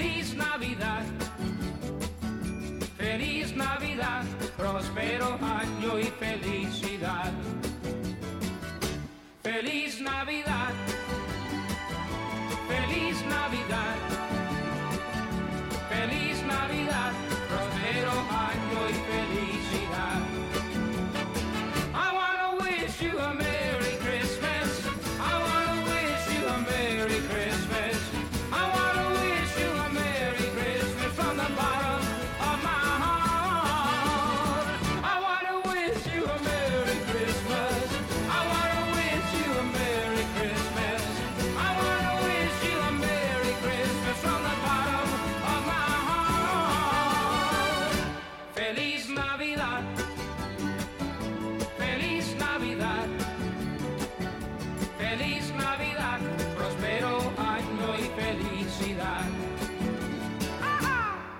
Navidad, feliz Navidad, próspero año y felicidad. Feliz Navidad, feliz Navidad, feliz Navidad, próspero año y felicidad. I wanna wish you a Merry Christmas. I wanna wish you a Merry Christmas. I wanna wish you a Merry Christmas from the bottom of my heart. I wanna wish you a Merry Christmas. I wanna wish you a Merry Christmas. I wanna wish you a Merry Christmas from the bottom of my heart. Feliz Navidad. Feliz Navidad, feliz Navidad, próspero año y felicidad.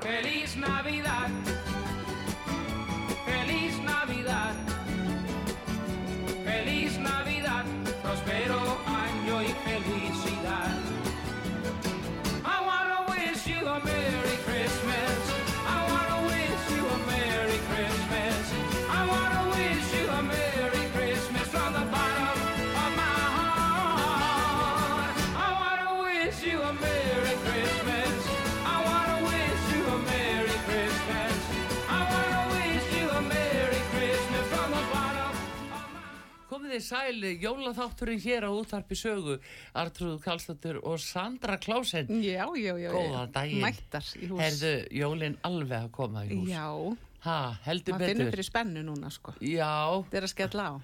Feliz Navidad, feliz Navidad, feliz Navidad, próspero año y felicidad. I wanna wish you a Merry Christmas. I wanna wish you a Merry Christmas. I wanna wish you a Merry Christmas from the bottom of my heart. I wanna wish you a Merry Christmas. I wanna wish you a Merry Christmas. I wanna wish you a Merry Christmas from the bottom of my Komið þið sæli, jólaþátturinn hér á útvarpi sögu, Artrúð Kallstóttur og Sandra Klásen. Já, já, já. já. Góðan daginn. Mættar í hús. Herðu, jólinn alveg að koma í hús. Já, Ha, heldur maður finnur betur. fyrir spennu núna, sko. Já, Þetta er að skella á.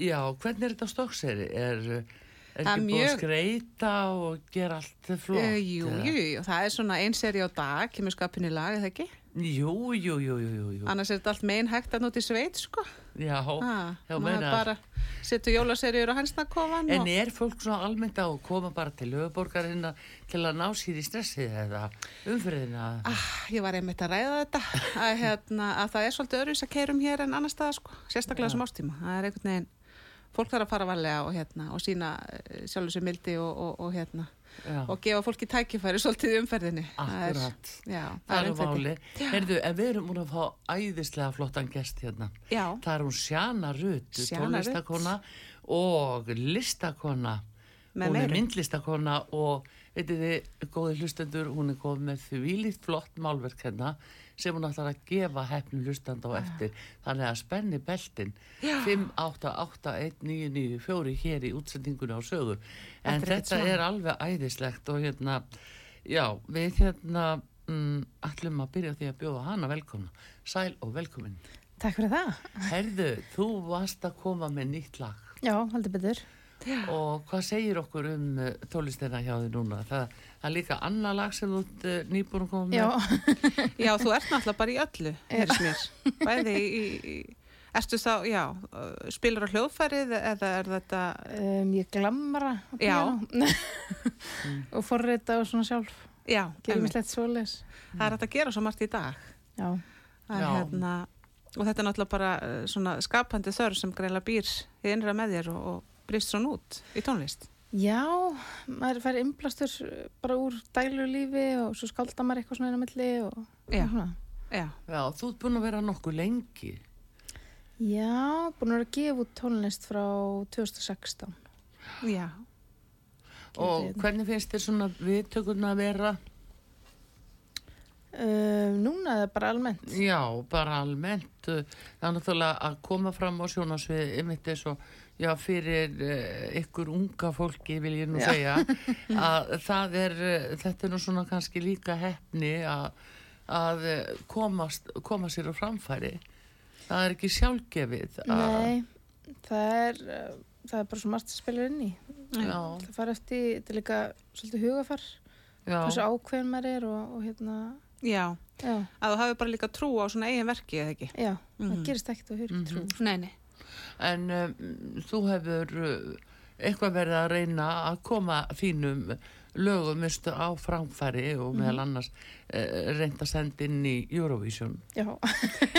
já, hvernig er þetta á stokkseri? Er, er Það er ekki búið að mjög- skreita og gera allt flott? Eh, Uh, jú, eða? jú, jú, það er svona einn seri á dag, kemur skapin í lag, eða ekki? Jú, jú, jú, jú, jú, jú. Annars er þetta allt megin hægt að nóti sveit, sko. Já, Ha, já, maður meina. bara setur jólaserjur á hansnakofan En og... er fólk svona almennt á að koma bara til höfuborgarina til að ná sér í stressið eða umfyririna? Ah, ég var einmitt að ræða þetta, að, hérna, að það er svolítið öðruvis að keirum hér en annars staðar, sko. Sérstaklega sem ástíma. Það er einhvern veginn, fólk þarf að fara varlega og, hérna, og sína sjálfur sem mildi og, og, og hérna, Já. og gefa fólki tækifæri svolítið í umferðinni. Það er- Akkurat. Já, Það er einfætti. máli. Herðu, en við erum múin að fá æðislega flottan gest hérna. Já, Það er hún Sjana Rutt, Sjana Rut. tónlistakona og listakona. Með hún er meiru. myndlistakona og, veitir þið, góði hlustendur, hún er góð með þvílíkt flott málverk hérna sem hún ætlar að gefa hefnum hlustanda á eftir. Þannig að spenni beltin 5881994 hér í útsendingunni á sögur. En Þetta er ekkert þetta smá. er alveg æðislegt og hérna, já, við hérna mm, ætlum að byrja á því að bjóða hana velkomna. Sæl og velkomin. Takk fyrir það. Herðu, þú varst að koma með nýtt lag Já, heldur betur. og hvað segir okkur um uh, tólistina hjá þið núna? Það, það er líka annað lag sem þú ert uh, nýbúin að koma Já, með. já, þú ert náttúrulega bara í öllu, heyrðis mér. Bæði í, í, í, ertu þá, já, uh, spilur á hljóðfærið eða er þetta, um, ég glamra. á Já. píanó. og forrita og svona sjálf. já, Gerum einmitt. við slett svoleiðis. það er hægt að gera svo margt í dag. Já, Það er Já. hérna, og þetta er náttúrulega bara uh, svona skapandi þörf sem greila býr í innra með þér og, og brist svona út í tónlist. Já, maður fær innblastur bara úr dælu lífi og svo skálda maður eitthvað svona inn á milli og Mhm. Já. og svona. Já, Já, þú ert búin að vera nokkuð lengi. Já, búin að vera að gefa út tónlist frá 2016. já. og verið. hvernig finnst þér svona viðtökurna að vera? Um, núna er það bara almennt. Já, bara almennt. uh, Það er náttúrulega að koma fram á sjónasvið, einmitt eins og, já, fyrir uh, ykkur unga fólki vil ég nú segja, að það er, uh, þetta er nú svona kannski líka hefni að, að uh, komast, koma sér á framfæri. Það er ekki sjálfgefið. að- Nei, það er, uh, það er bara svo margt að spila inn í. Já, Það fara eftir, þetta er líka svolítið hugafar, hversu já, ákveðin maður er og, og hérna, Já, já, að þú hafi bara líka trú á svona eigin verki eða ekki. já, það Mhm. gerist ekkert og hefur ekki trú. Nei, nei. en um, þú hefur uh, eitthvað verið að reyna að koma þínum lögum mistu á framfæri og Mhm. meðal annars uh, reynd að senda inn í Eurovision. Já,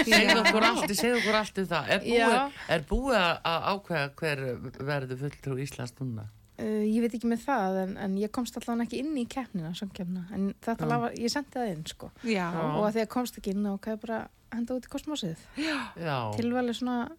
segðu okkur allt, segðu okkur allt um það er búið, Já. er búið að ákveða hver verður fulltrú Íslands núna Eh, Uh, ég veit ekki með það, en, en ég komst allan ekki inn í keppnina, samkeppna, en þetta Já. lag var, ég sendi það inn, sko. Já, Já. Og að því að komst ekki inn á, hvað bara að henda út í kosmosið? já. Tilvæli svona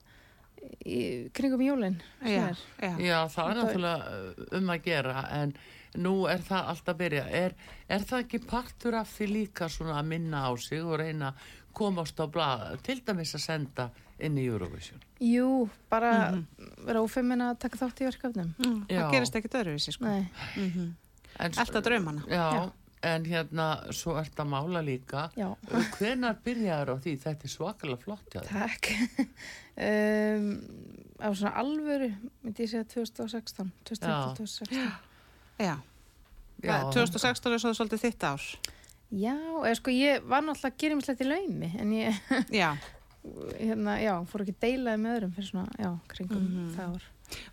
í kringum jólinn, sem já, er. já. Já, það er Þetta er- náttúrulega um að gera en nú er það alltaf að byrja. Er, er það ekki partur af því líka svona að minna á sig og reyna að komast á blaða, til dæmis að senda inn í Eurovision? Jú, bara Mhm. vera ófeimin að taka þátt í verkefnum. Mm, Já. Sko. það gerist ekkert öðruvísi sko. Nei, mm En, Alltaf draumana Já, Já. en hérna, svo ert að mála líka. já, Hvenar byrjaður á því? Þetta er svakalega flott, já. takk. um, á svona alvöru, myndi ég segja 2016, 2015, 2016. Já, já Það- 2016 er svo svolítið þitt ár Já, eða sko ég var náttúrulega að gera mig slett í laumi, en ég Já, hérna, já, fór ekki deilaði með öðrum fyrir svona, já, kringum Mhm. það ár.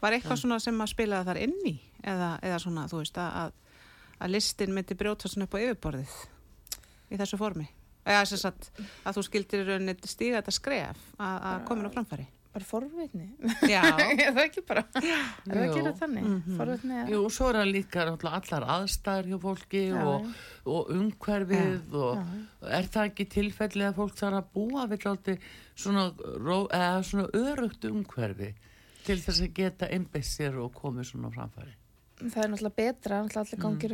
var eitthvað svona sem að spilaði þar inn í eða, eða svona, þú veist, að- að, að listin myndi brjóta svona upp á yfirborðið í þessu formi eða sem sagt, að þú skildir í rauninni stíga þetta skref að, að komin á framfæri Bara forvitni. Já, er það ekki bara, er það Jú. ekki það þannig? Mhm. Forvitni að... Jú, svo er það líka náttúrulega allar aðstæður hjá fólki Já, og, og umhverfið og já. er það ekki tilfellið að fólk þarf að búa við alltaf svona, ró, eða svona örugt umhverfi til þess að geta einbeitt sér og komið svona á framfæri? Það er náttúrulega betra, náttúrulega allir Mhm. gangir,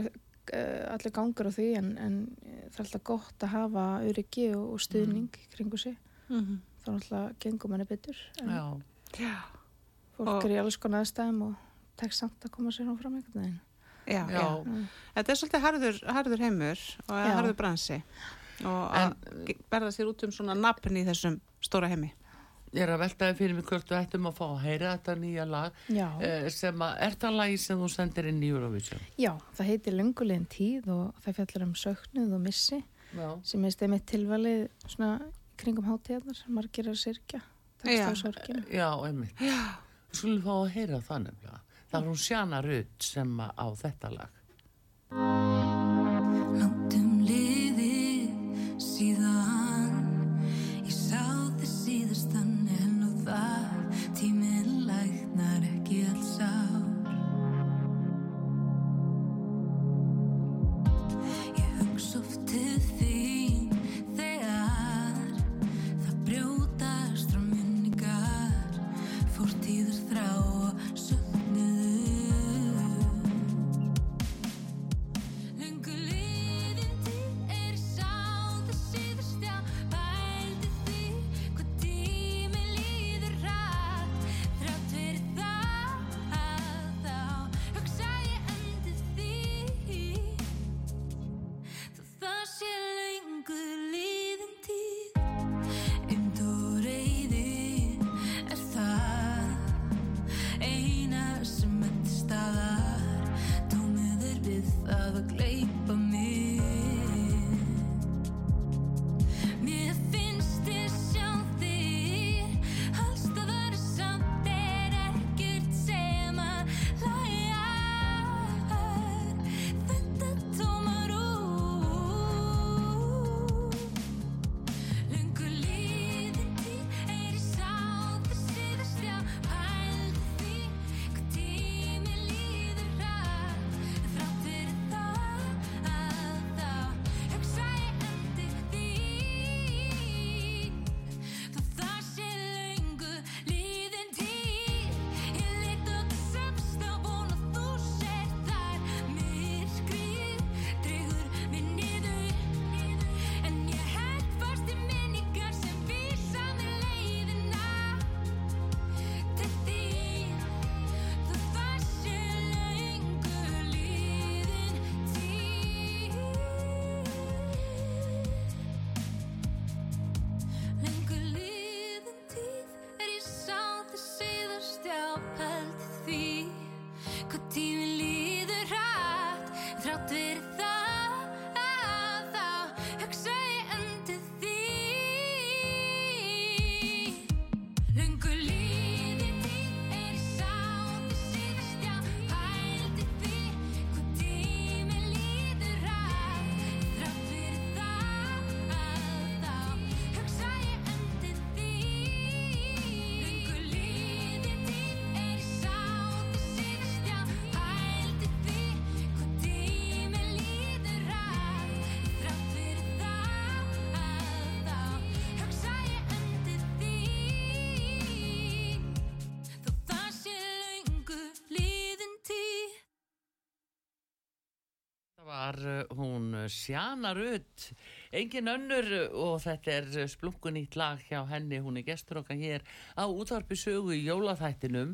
mm. allir gangur á því, en, en eh, það er alltaf gott að hafa öryggi og, og stuðning mm. kringu sig. Mhm. Þá náttúrulega gengum henni betur. En Já, Fólk Og- er í alls konar aðstæðum og tekst samt að koma sér á fram einhvern veginn. já, já. já. Þetta er svolítið harður, harður heimur og Já. harður bransi og að ge- berða sér út um svona nafn í þessum stóra heimi. Ég er að veltaði fyrir mig hvort við ættum að fá að heyra þetta nýja lag Já. eh, sem að, er það lagi sem þú sendir inn í Eurovision? Já, það heitir Lungulegin tíð og það fjallar um söknuð og missi Já. sem er stefnið tilvalið svona í kringum hátíðarnar, margir er sirkja, Já. takst á sorginu. Já, einmitt. Já. Skulum fá að heyra það nefnilega. Það er hún Sjana Rutt sem að- á þetta lag. Láttum liðið síðan Ég sá þið síðastan en nú það Tíminn læknar ekki alls ár Ég hugsa oft til þín þegar Það brjótast frá minningar Fórtíðar þrá og söknuður var uh, hún uh, Sjana Rutt, engin önnur uh, og þetta er uh, splunkunýtt lag hjá henni, hún er gestur okkar hér á útvarpi sögu í jólaþættinum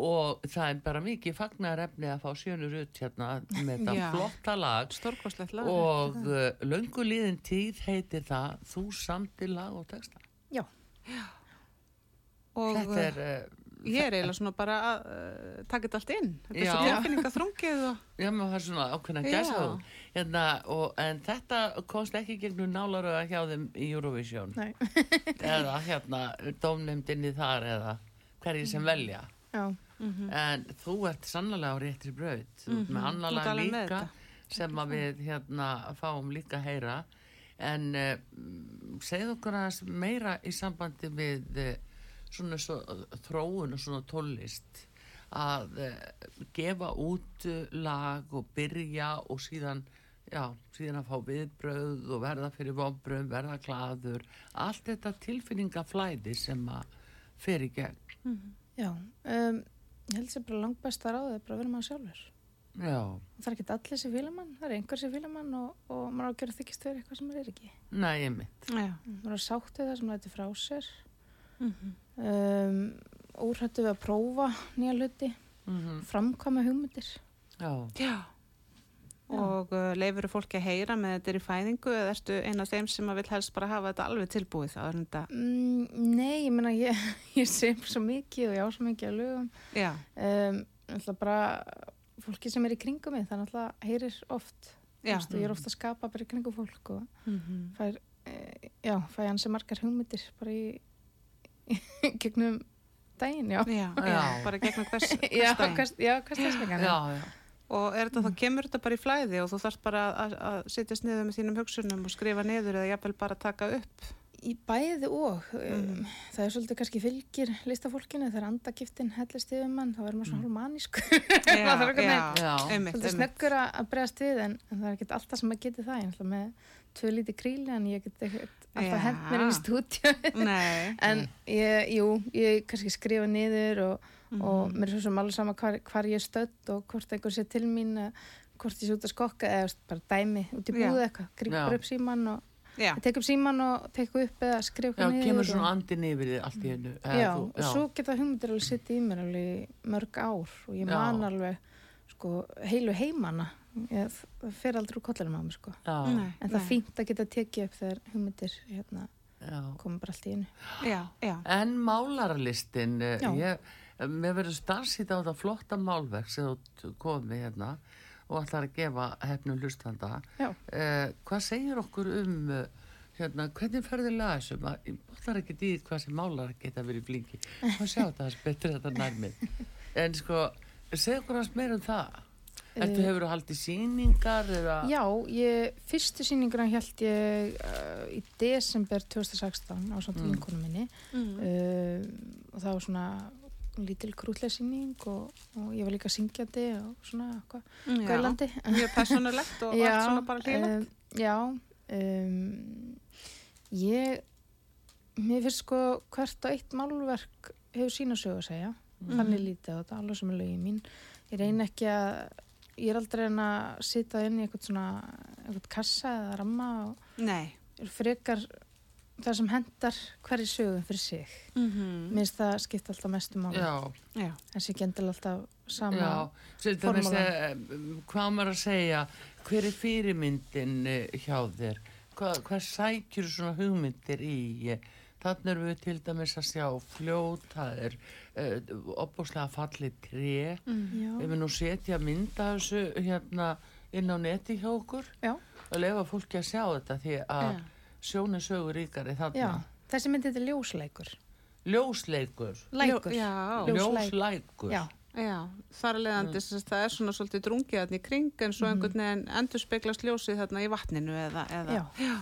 og það er bara mikið fagnarefni að fá Sjönu Rutt hérna með þetta Já. flotta lag Stórkoslegt lag. og uh, lönguliðin tíð heitir það Þú samtir lag og texta. Já, og eh, Þetta er, uh, ég er eiginlega svona bara að uh, taka þetta allt inn. Þetta er svo Já. tilfinninga þrungið og... já maður fær svona ákveðna Já. gæsa hérna, og, en þetta komst ekki gegnum nálaröða hjá þeim í Eurovision nei, eða hérna dómnefndinni þar eða hverjir sem velja já, en þú ert sannlega á réttri braut mm Mm. Mhm. með Þú annar lag ert alveg með líka þetta. sem að við hérna fáum líka að heyra en uh, segð okkur aðeins meira í sambandi við uh, svona svo, þróun og svona tólist að uh, gefa út eh, lag og byrja og síðan já, síðan að fá viðbröð og verða fyrir vonbröðum, verða klaður allt þetta tilfinningaflæði sem að fer í gegn já. Um, ég held sér bara langbest að ráða er bara að vera maður sjálfur. já Það er ekki allir sem fíla mann, það er einhver sem fíla mann og, og maður á að gera þykist fyrir eitthvað sem maður er ekki. Nei, ég mitt. Já. Maður er sátt við það sem maður lætur frá sér, Mm um, úrhættu við að prófa nýja hluti, framkvæma hugmyndir. Mhm. Já, Já. Og uh, leifur fólki að heyra með þetta er í fæðingu eða ertu eina af þeim sem að vil helst bara hafa þetta alveg tilbúið þá er þetta, Mm, nei, ég meina ég, ég sem svo mikið og ég á svo mikið að lögum. já, Um, alltaf bara fólki sem er í kringum mig, þannig alltaf heyrir oft. Þú já. veist, og ég er ofta að skapa bara í kringum fólk og Mhm. fær, eh, já, fær hansi margar hugmyndir bara í, í gegnum daginn, já. Já, Já. já, bara gegnum hvers, Já, hversdaginn. hvers, já, hvers dagslegan. já, já. og er þetta, þá kemur þetta bara í flæði og þú þarf bara að, að setjast niður með þínum hugsunum og skrifa niður eða jafnvel bara taka upp Í bæði og, um, Mhm. það er svolítið kannski fylgir listafólkinu, þegar andagiftin hellist yfir mann, þá verður maður svona hálfmanísk. Já, þarf einhvern veginn- Já. einmitt, Svolítið einmitt. snöggur að að bregðast við en, en það er ekkert alltaf sem að geti það ég ætla með tvö lítið kríli en ég get ekkert alltaf Já. Mm. hent mér inn í stúdíu Nei, en ég, jú, ég kannski skrifa niður og, Mhm. og mér er svo sem alveg sama hvar, hvar ég er stödd og hvort einhver sé til mín eh, hvort ég sé út að skokka eða veist, bara dæmi út í Já. búðu eitthvað Já. grípar upp síman og já, tek upp síman og tek upp eða skrifa Já, eitthvað niður kemur og- svona andin yfir þið allt í hennu. Mm. Já, og svo geta hugmyndir alveg sitt í mér alveg í mörg ár og ég Já. man alveg sko, heilu heimana ég, það fer aldrei úr kollinum á mér sko. Já, nei, en það er nei. fínt að geta tekið upp þegar hugmyndir hérna, já. koma bara allt í einu Já, já, En málarlistin, eh, Já. ég, mér verður starfsýta á það flotta málverk sem þú komið hérna og ætlar að gefa hefnum hlustanda. Já. Eh, hvað segir okkur um, eh, hérna, hvernig ferðið laga þessu? Ma- um Ég bóttar ekki dýð hvað sem málar geta verið flingi. Hvað sjá þetta þess betur þetta nærmið? En sko, segir okkur hans meir um það. Ertu Eh, hefur haldið síningar eða? Já, ég, fyrstu sýninguna held ég uh, í desember 2016 á samt Mm. vinkonum minni Mm. uh, og það var svona lítil krútlega sýning og, og ég var líka syngjandi og svona eitthvað, já. gælandi mjög personulegt og allt svona bara hlýðan um, já um, ég mér finnst sko hvert og eitt málverk hefur sína sögu að segja Mhm. þannig lítið á þetta, alveg sem er lögin mín ég reyna ekki að ég er aldrei en að sita inn í eitthvað svona eitthvað kassa eða ramma og Nei er frekar það sem hendar hverju sögum fyrir sig mér finnst það skipta alltaf mestu máli Já. Mhm. Já, en sé gendilega alltaf sama Já, sem dæmis, formúlan. eh, hvað á maður að segja, hver er fyrirmyndin eh, hjá þér? Hva, hvað sækjur svona hugmyndir í? Þannig erum við til dæmis að sjá fljótaðir, uh, opbúslega fallið tré. Já. Við munum setja mynda þessu hérna inn á neti hjá okkur Já. og lefa fólki að sjá þetta því að Já. sjónin sögur ríkari þarna. Já. þessi myndi þetta er ljósleikur Ljósleikur, lækur já, Ljóslæk. ljóslækur. Já. já, þar er leiðandi mm. það er svona svolítið drungið þarna í kring en svo Mhm. einhvern veginn endur speglast ljósið þarna í vatninu eða, eða. Já.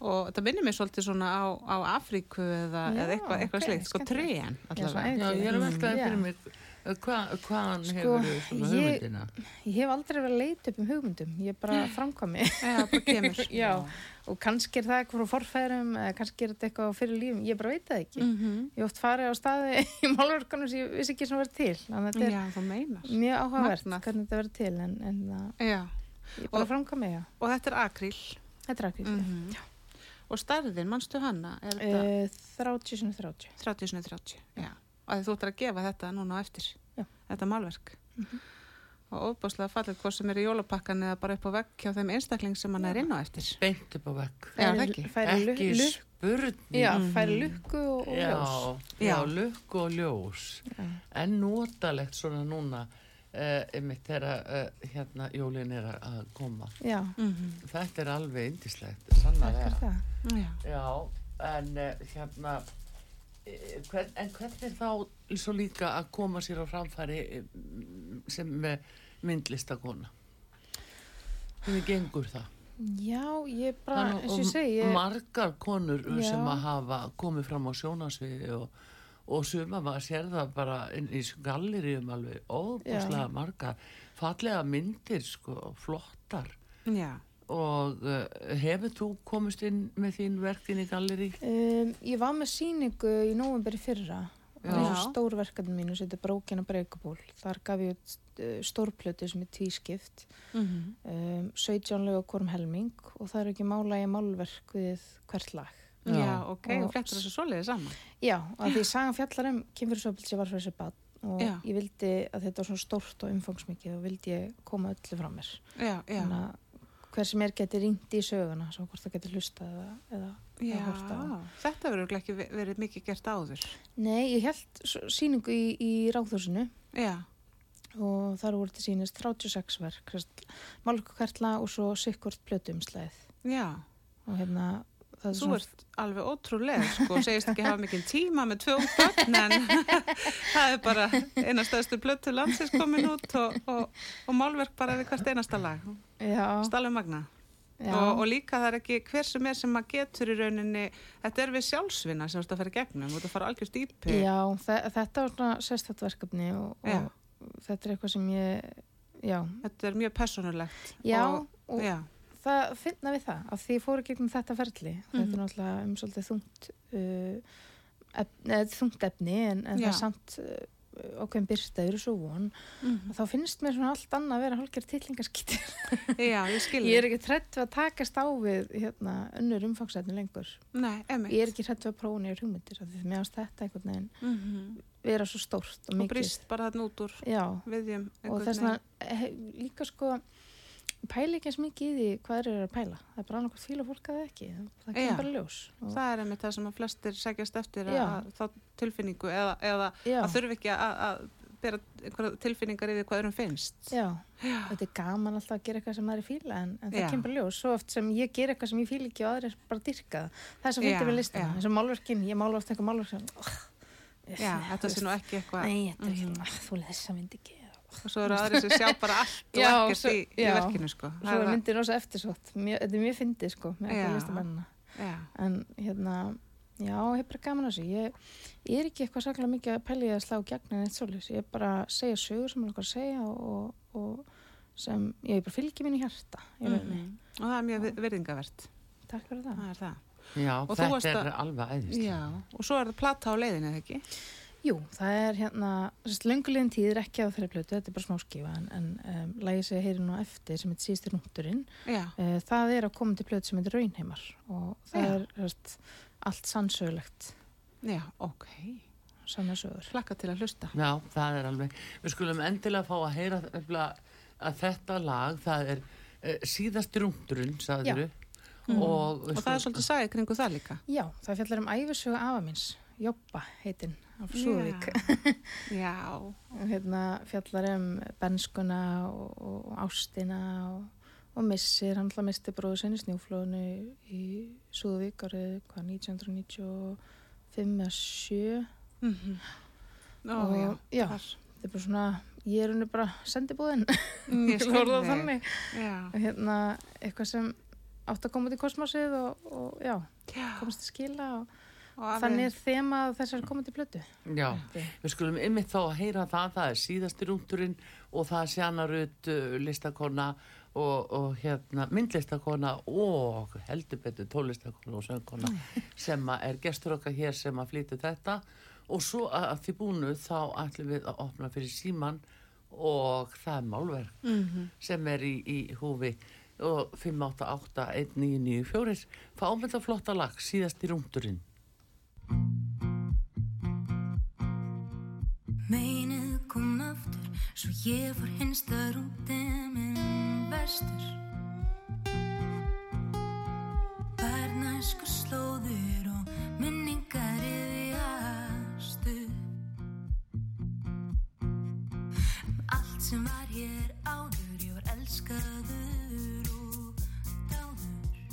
og það minnir mér svolítið svona á, á Afríku eða, Já, eða eitthvað, eitthvað ok, slíkt, sko skemmtilegt. trén svona allavega. Já, ég er að velta það Mm, Já. fyrir mig, eh, hva- hvaðan Sko, hefur þú svona ég- hugmyndina? Ég hef aldrei verið að leita upp um hugmyndum, ég er bara framkvæmi. Já, bara kemur Já, og kannski er það eitthvað frá forfæðurum, eða kannski er þetta eitthvað fyrir lífum, ég bara veit það ekki. Mm. Ég hef oft farið á staði í málverkunum sem ég vissi ekki sem verið til, þannig að þetta er Mm. Já, þú meinar mjög áhugavert Magnað. hvernig þetta verið til, en, en það, Já, Ég er bara að framkvæma ég. Og þetta er akril. Þetta er akkur. Mm Mm. Og stærðin, mannstu hana? Er þetta Uh, 30 sinni 30. 30 sinni 30? Já. Og þú ættir að gefa þetta núna á eftir? Já. Mhm. Þetta málverk? Og ofbáslega fallið hvort sem er í jólapakkan eða bara upp á vegg hjá þeim einstakling sem hann er inn á eftir. beint upp á vekk. Já, það ekki. Færi lu- Ekki Mhm. lu- spurning. Mm. Já, færi lukku og, og Já, ljós. já, Já. lukku og ljós en notalegt svona núna uh, einmitt þegar uh, hérna jólin er að- að koma Já, Mm Mhm. þetta er alveg indislegt takk fyrir sannarlega það. Já. já, en uh, hérna eh, hvern, en hvernig þá svo líka að koma sér á framfæri eh, m, sem eh, myndlistakona hvernig gengur það Já, ég bara, Það er nú um eins og ég segi, ég, margar konur Já. sem að hafa komið fram á sjónasviði og, og suma maður sér það bara inn í galleriðum alveg óbúslega margar fallega myndir sko, flottar Mhm. Já. og uh, hefur þú komist inn með þín verkin í galleri? um, ég var með síningu í november í fyrra Já. og Já. stórverkefni mínu sem þetta brókin að breykaból. Þar gaf ég út, uh, stórplötu sem er tvískipt, Mm um, 17 lög og hvorm helming og það er ekki mála ég málverk við hvert lag. Já. Já, ok, Og- og flettur þessu svoleiði saman. Já, að því sagan fjallar um kynfyrirsofbilsi var fyrir þessi bad og Já. ég vildi að þetta var svona stórt og umfangsmikið og vildi ég koma öllu frá mér. Já, já. að hver sem er geti ringt í söguna, svo hvort það geti hlustað eða, eða Já, að horta á hana. þetta verður örugglega ekki ve- verið mikið gert áður. Nei, ég held s- sýningu í, í ráðhúsinu Já, og þar voru til sýnist 36 verk, málkukverla og svo sikkurt plötumslæð já. og hérna það er Þú ert alveg ótrúlega, sko, segist ekki hafa mikinn tíma með tvö ung börn, en það er bara einastöðstu blötu landsins komin út og, og, og málverk bara við hvert einasta lag. já, Stalveg magna. já, Og, og líka það er ekki hver sem er sem maður getur í rauninni, þetta er við sjálfsvinna sem þú ert að fara í gegnum, þú ert að fara algjör dýpi. já þe þetta var svona sérstætt verkefni og, Já. og þetta er eitthvað sem ég já, Þetta er mjög persónulegt. já Og, og já, það finna við það af því ég fór í gegnum þetta ferli þetta er Mhm. náttúrulega um svolítið þungt uh, ef, eða þungt efni en, en það Já. er samt uh, okkur byrsta yfir svo von Mhm. og þá finnst mér svona allt annað að vera hálfgerð tillingaskýtir já, ég skil. ég er ekki trett við að takast á við hérna, önnur umfangsefni lengur Nei, emitt. ég er ekki trett við að prófa nýjur hugmyndir af því mér ást þetta einhvern veginn Mhm. vera svo stórt og Og mikið brist bara þarna út úr já, viðjum. og þess vegna líka sko pæli ekki eins mikið í því hvað þeir eru að pæla það er bara annað hvort fíla fólk að það ekki það kemur Já. bara í ljós og, Það er einmitt það sem að flestir sækjast eftir Já. að þá tilfinningu eða, eða já, að þurfi ekki að, að bera einhverja tilfinningar yfir hvað öðrum finnst. já, þetta er gaman alltaf að gera eitthvað sem það er í fíla en, en það Já. kemur bara í ljós, svo oft sem ég ger eitthvað sem ég fíla ekki og aðrir bara dyrka það það er svo Já, fyrir við já. listina, eins og málverkin ég mála oft eitthvað málverk sem oh, Já, þetta sé nú ekki eitthvað. nei, þetta er ekki, Ah, þú leðis að myndi ekki eða- Og svo eru aðri sem sjá bara allt Já, og ekkert svo- í, í já. verkinu, sko. og svo er myndin rosa eftirsótt, Mjög- þetta er mjög fyndið sko, með Já. ekki listamennina Já, en hérna já, ég er bara gaman að þessu ég, ég er ekki eitthvað saklega mikið að pæli að slá gegn en eitt svolítið, ég er bara að segja sögur sem ég langar að segja og, og sem, já, ég bara fylgi mínu hjarta í rauninni, Mm-hmm. og það er mjög vi- virðingarvert. takk fyrir það Það er það. Já, Og þú varst þetta er að- alveg æðist Já, og svo er það plata á leiðinu, eða ekki? Jú, það er hérna, sérst, löngulegin tíð er ekki á þeirri plötu, þetta er bara smáskífa en, en um, lægi sig heyri nú eftir sem heit síðstir nútturinn Já, uh, það er að koma til plötu sem heit raunheimar og það Já. er sérst, allt sannsögulegt já, ok. sannar sögur Flakka til að hlusta. Já, það er alveg. Við skulum endilega fá að heyra nefnilega að þetta lag, það er uh, síðast rungdurinn, sagður og, Og það er svolítið sagði kringu það líka. Já, það fjallar um æfisögu afa míns Jobba heitinn af Súðvík Já, já. og hérna fjallar um benskuna og, og ástina og, og missir, hann alltaf misti bróðu sinni í snjóflóðinu í Súðvík árið hvað, 1995 eða 7 Mhm. Ó, og já. já, Þar. þetta er bara svona ég er henni bara sendibúðin Mm, Ég Ég skil orða það þig. þannig. Já. og hérna eitthvað sem átt að koma út í kosmosið og, og já, Já. komast til skila og Og afi- þannig er þema þessar komandi plötu Já, Mm. við skulum ymmið þá að heyra það, það er síðasti rúndurinn og það er sjanarut listakona og, og hérna, myndlistakona og heldur betur tólistakona og söngkona sem að er gestur okkar hér sem að flytu þetta og svo að að því búnu þá ætlum við að opna fyrir síman og það er málverk sem er í, í húfi og 5881994 fáum þetta flotta lag síðast í rúndurinn Meinið kom aftur Svo ég fór hinstar út Eminn vestur Bærnæsku slóðir Og minningar yfjast upp Um Allt sem var hér áður Ég var elskaður og dáður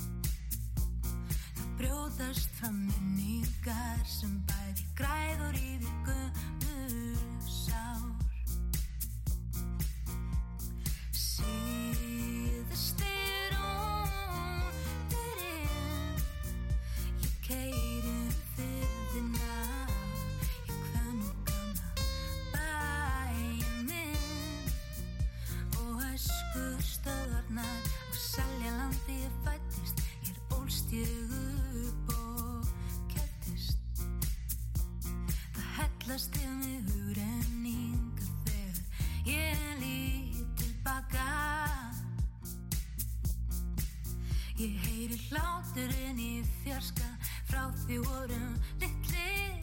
Það brjótast fram minningar sem bæði græð og rífi gömur sár. Síðast er óndurinn, ég keirin þyrðina, ég kvöngana bæinn minn og æsku stöðarnar og selja landi ég fættist ég er ólst ég upp og kættist það hellast ég mig úr en yngur þegar ég lít tilbaka ég heyri hláturinn í fjarska frá því vorum litlir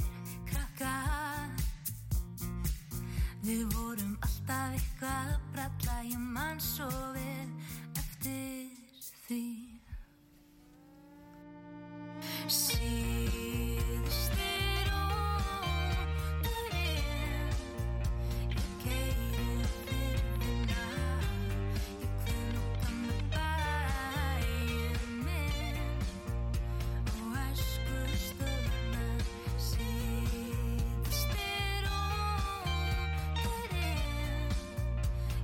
krakkar Við vorum alltaf eitthvað að bralla, ég mann svo vel eftir því. Síðust er ótturinn, ég keiri þyrfina, ég kvinn og kannu bæinn minn og æsku stöðunar síðast er ótturinn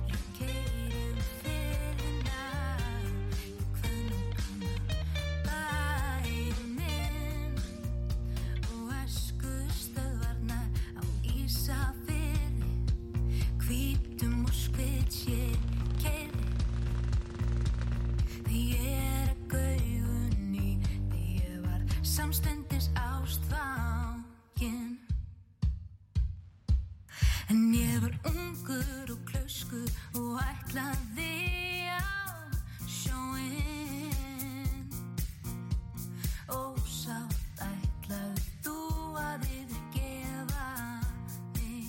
ég keirum fyrirna ég kvöðnum kannar bæinn minn og æsku stöðvarnar á Ísafirði hvítum og skvitt ég keiri Því ég er að gauðunni Því ég var samstendis ástfangin En ég var ungur og klausku Og ætlaði á sjóinn Ósátt ætlaði þú að yfirgefa mig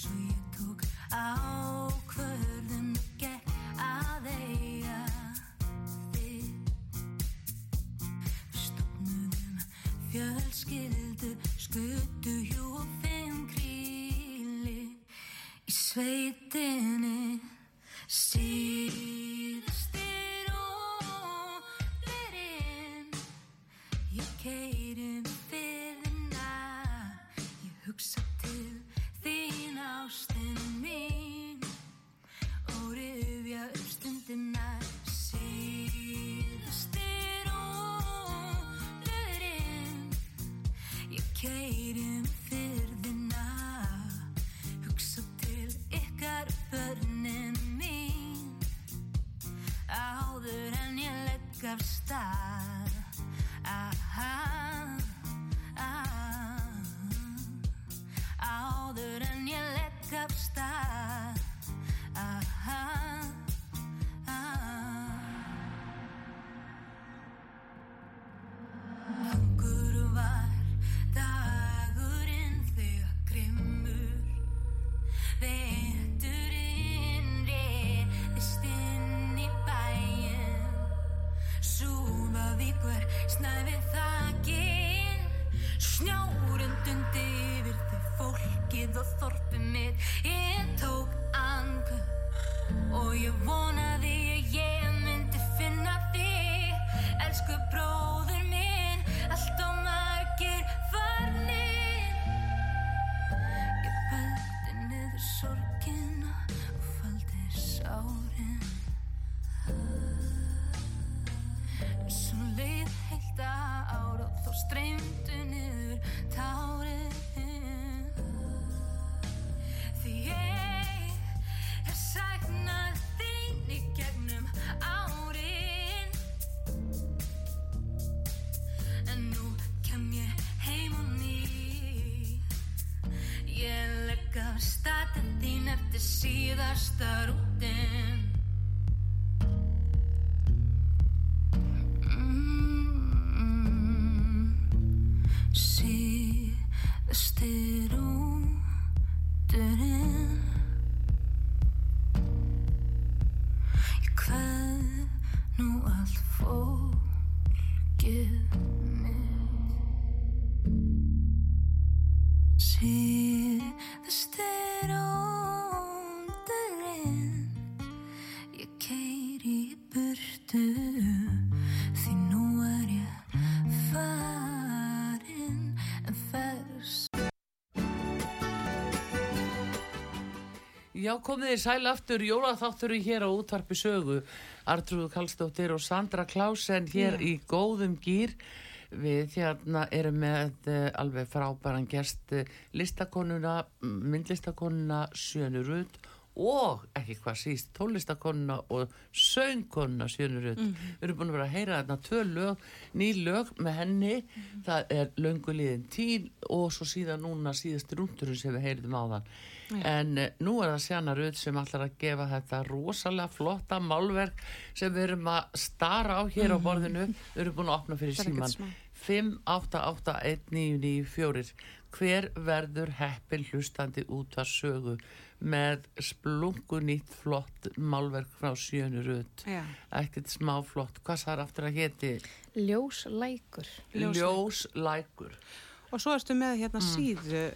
Svo ég tók ákvörðun og gekk að eiga þig. Við stofnuðum fjölskyldu, skutu hjú og fimm kríli í sveitinni. Síðast er óverinn. Ég keirum fyrðina, ég hugsa til þín ástin mín og rifja upp stundina síðast er óverinn. Ég keirum fyrðina, hugsa til ykkar börnin mín áður en ég legg af stað Aha, aha. áður en ég legg af stað Aha, aha. Langur var dagurinn þegar grimmur Veturinn reyðist inn í bæinn Súmavíkur snæfið þakin Snjórun dundi yfir því fólkið og þorpið mitt Ég tók angur og ég vonaði að ég myndi finna þig Elsku bróður minn, allt og margir farnir Ég fældi niður sorgina og fældi sárin Svo leið heilt að ára og þá streymdu niður tárin Því ég hef saknað þín í gegn Mm. fólkið mitt Síðast er óndurinn Ég keiri í burtu Því nú er ég farin En ferð Já, komið þið sæl aftur, jólaþátturinn hér á útvarpi sögu. Artrúðu Kallstóttir og Sandra Klásen hér í góðum gýr. Við hérna erum með eh, alveg frábæran gest eh, listakonuna, mm, myndlistakonuna Sjönu Rut og ekki hvað síst tónlistakonuna og söngkonuna Sjönu Rut. Mhm. Við erum búin að vera að heyra þarna tvö lög, ný lög með henni. Mhm. Það er lönguliðin tíl og svo síðan núna síðast rúndurinn sem við heyrðum á þann. En eh, nú er það Sjana Röð sem allar að gefa þetta rosalega flotta málverk sem við erum að stara á hér á borðinu. Við erum búin að opna fyrir Mhm. Það er ekkert síman. 5881994 Hver verður heppin hlustandi út að sögu með splungunýtt flott málverk frá Sjönu Röð? Já. Ekkert smá flott. Hvað sær aftur að geti? Ljóslækur. Ljóslækur. Og svo ertu með hérna síðu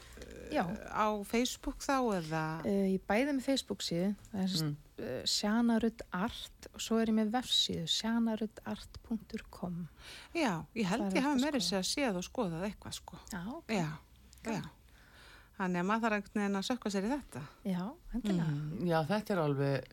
Já, á Facebook þá eða uh, ég bæði með Facebook síðu, það er mm. uh, Sjanarud Art og svo er ég með vefsíðu, sjanarudart.com. Já, ég Það er held sko. ég hægt hafa að meiri sér að séð og skoðað eitthvað sko Já, Já, já Þannig að maður þarf einhvern veginn að sökka sér í þetta já, endilega. Já, þetta er alveg,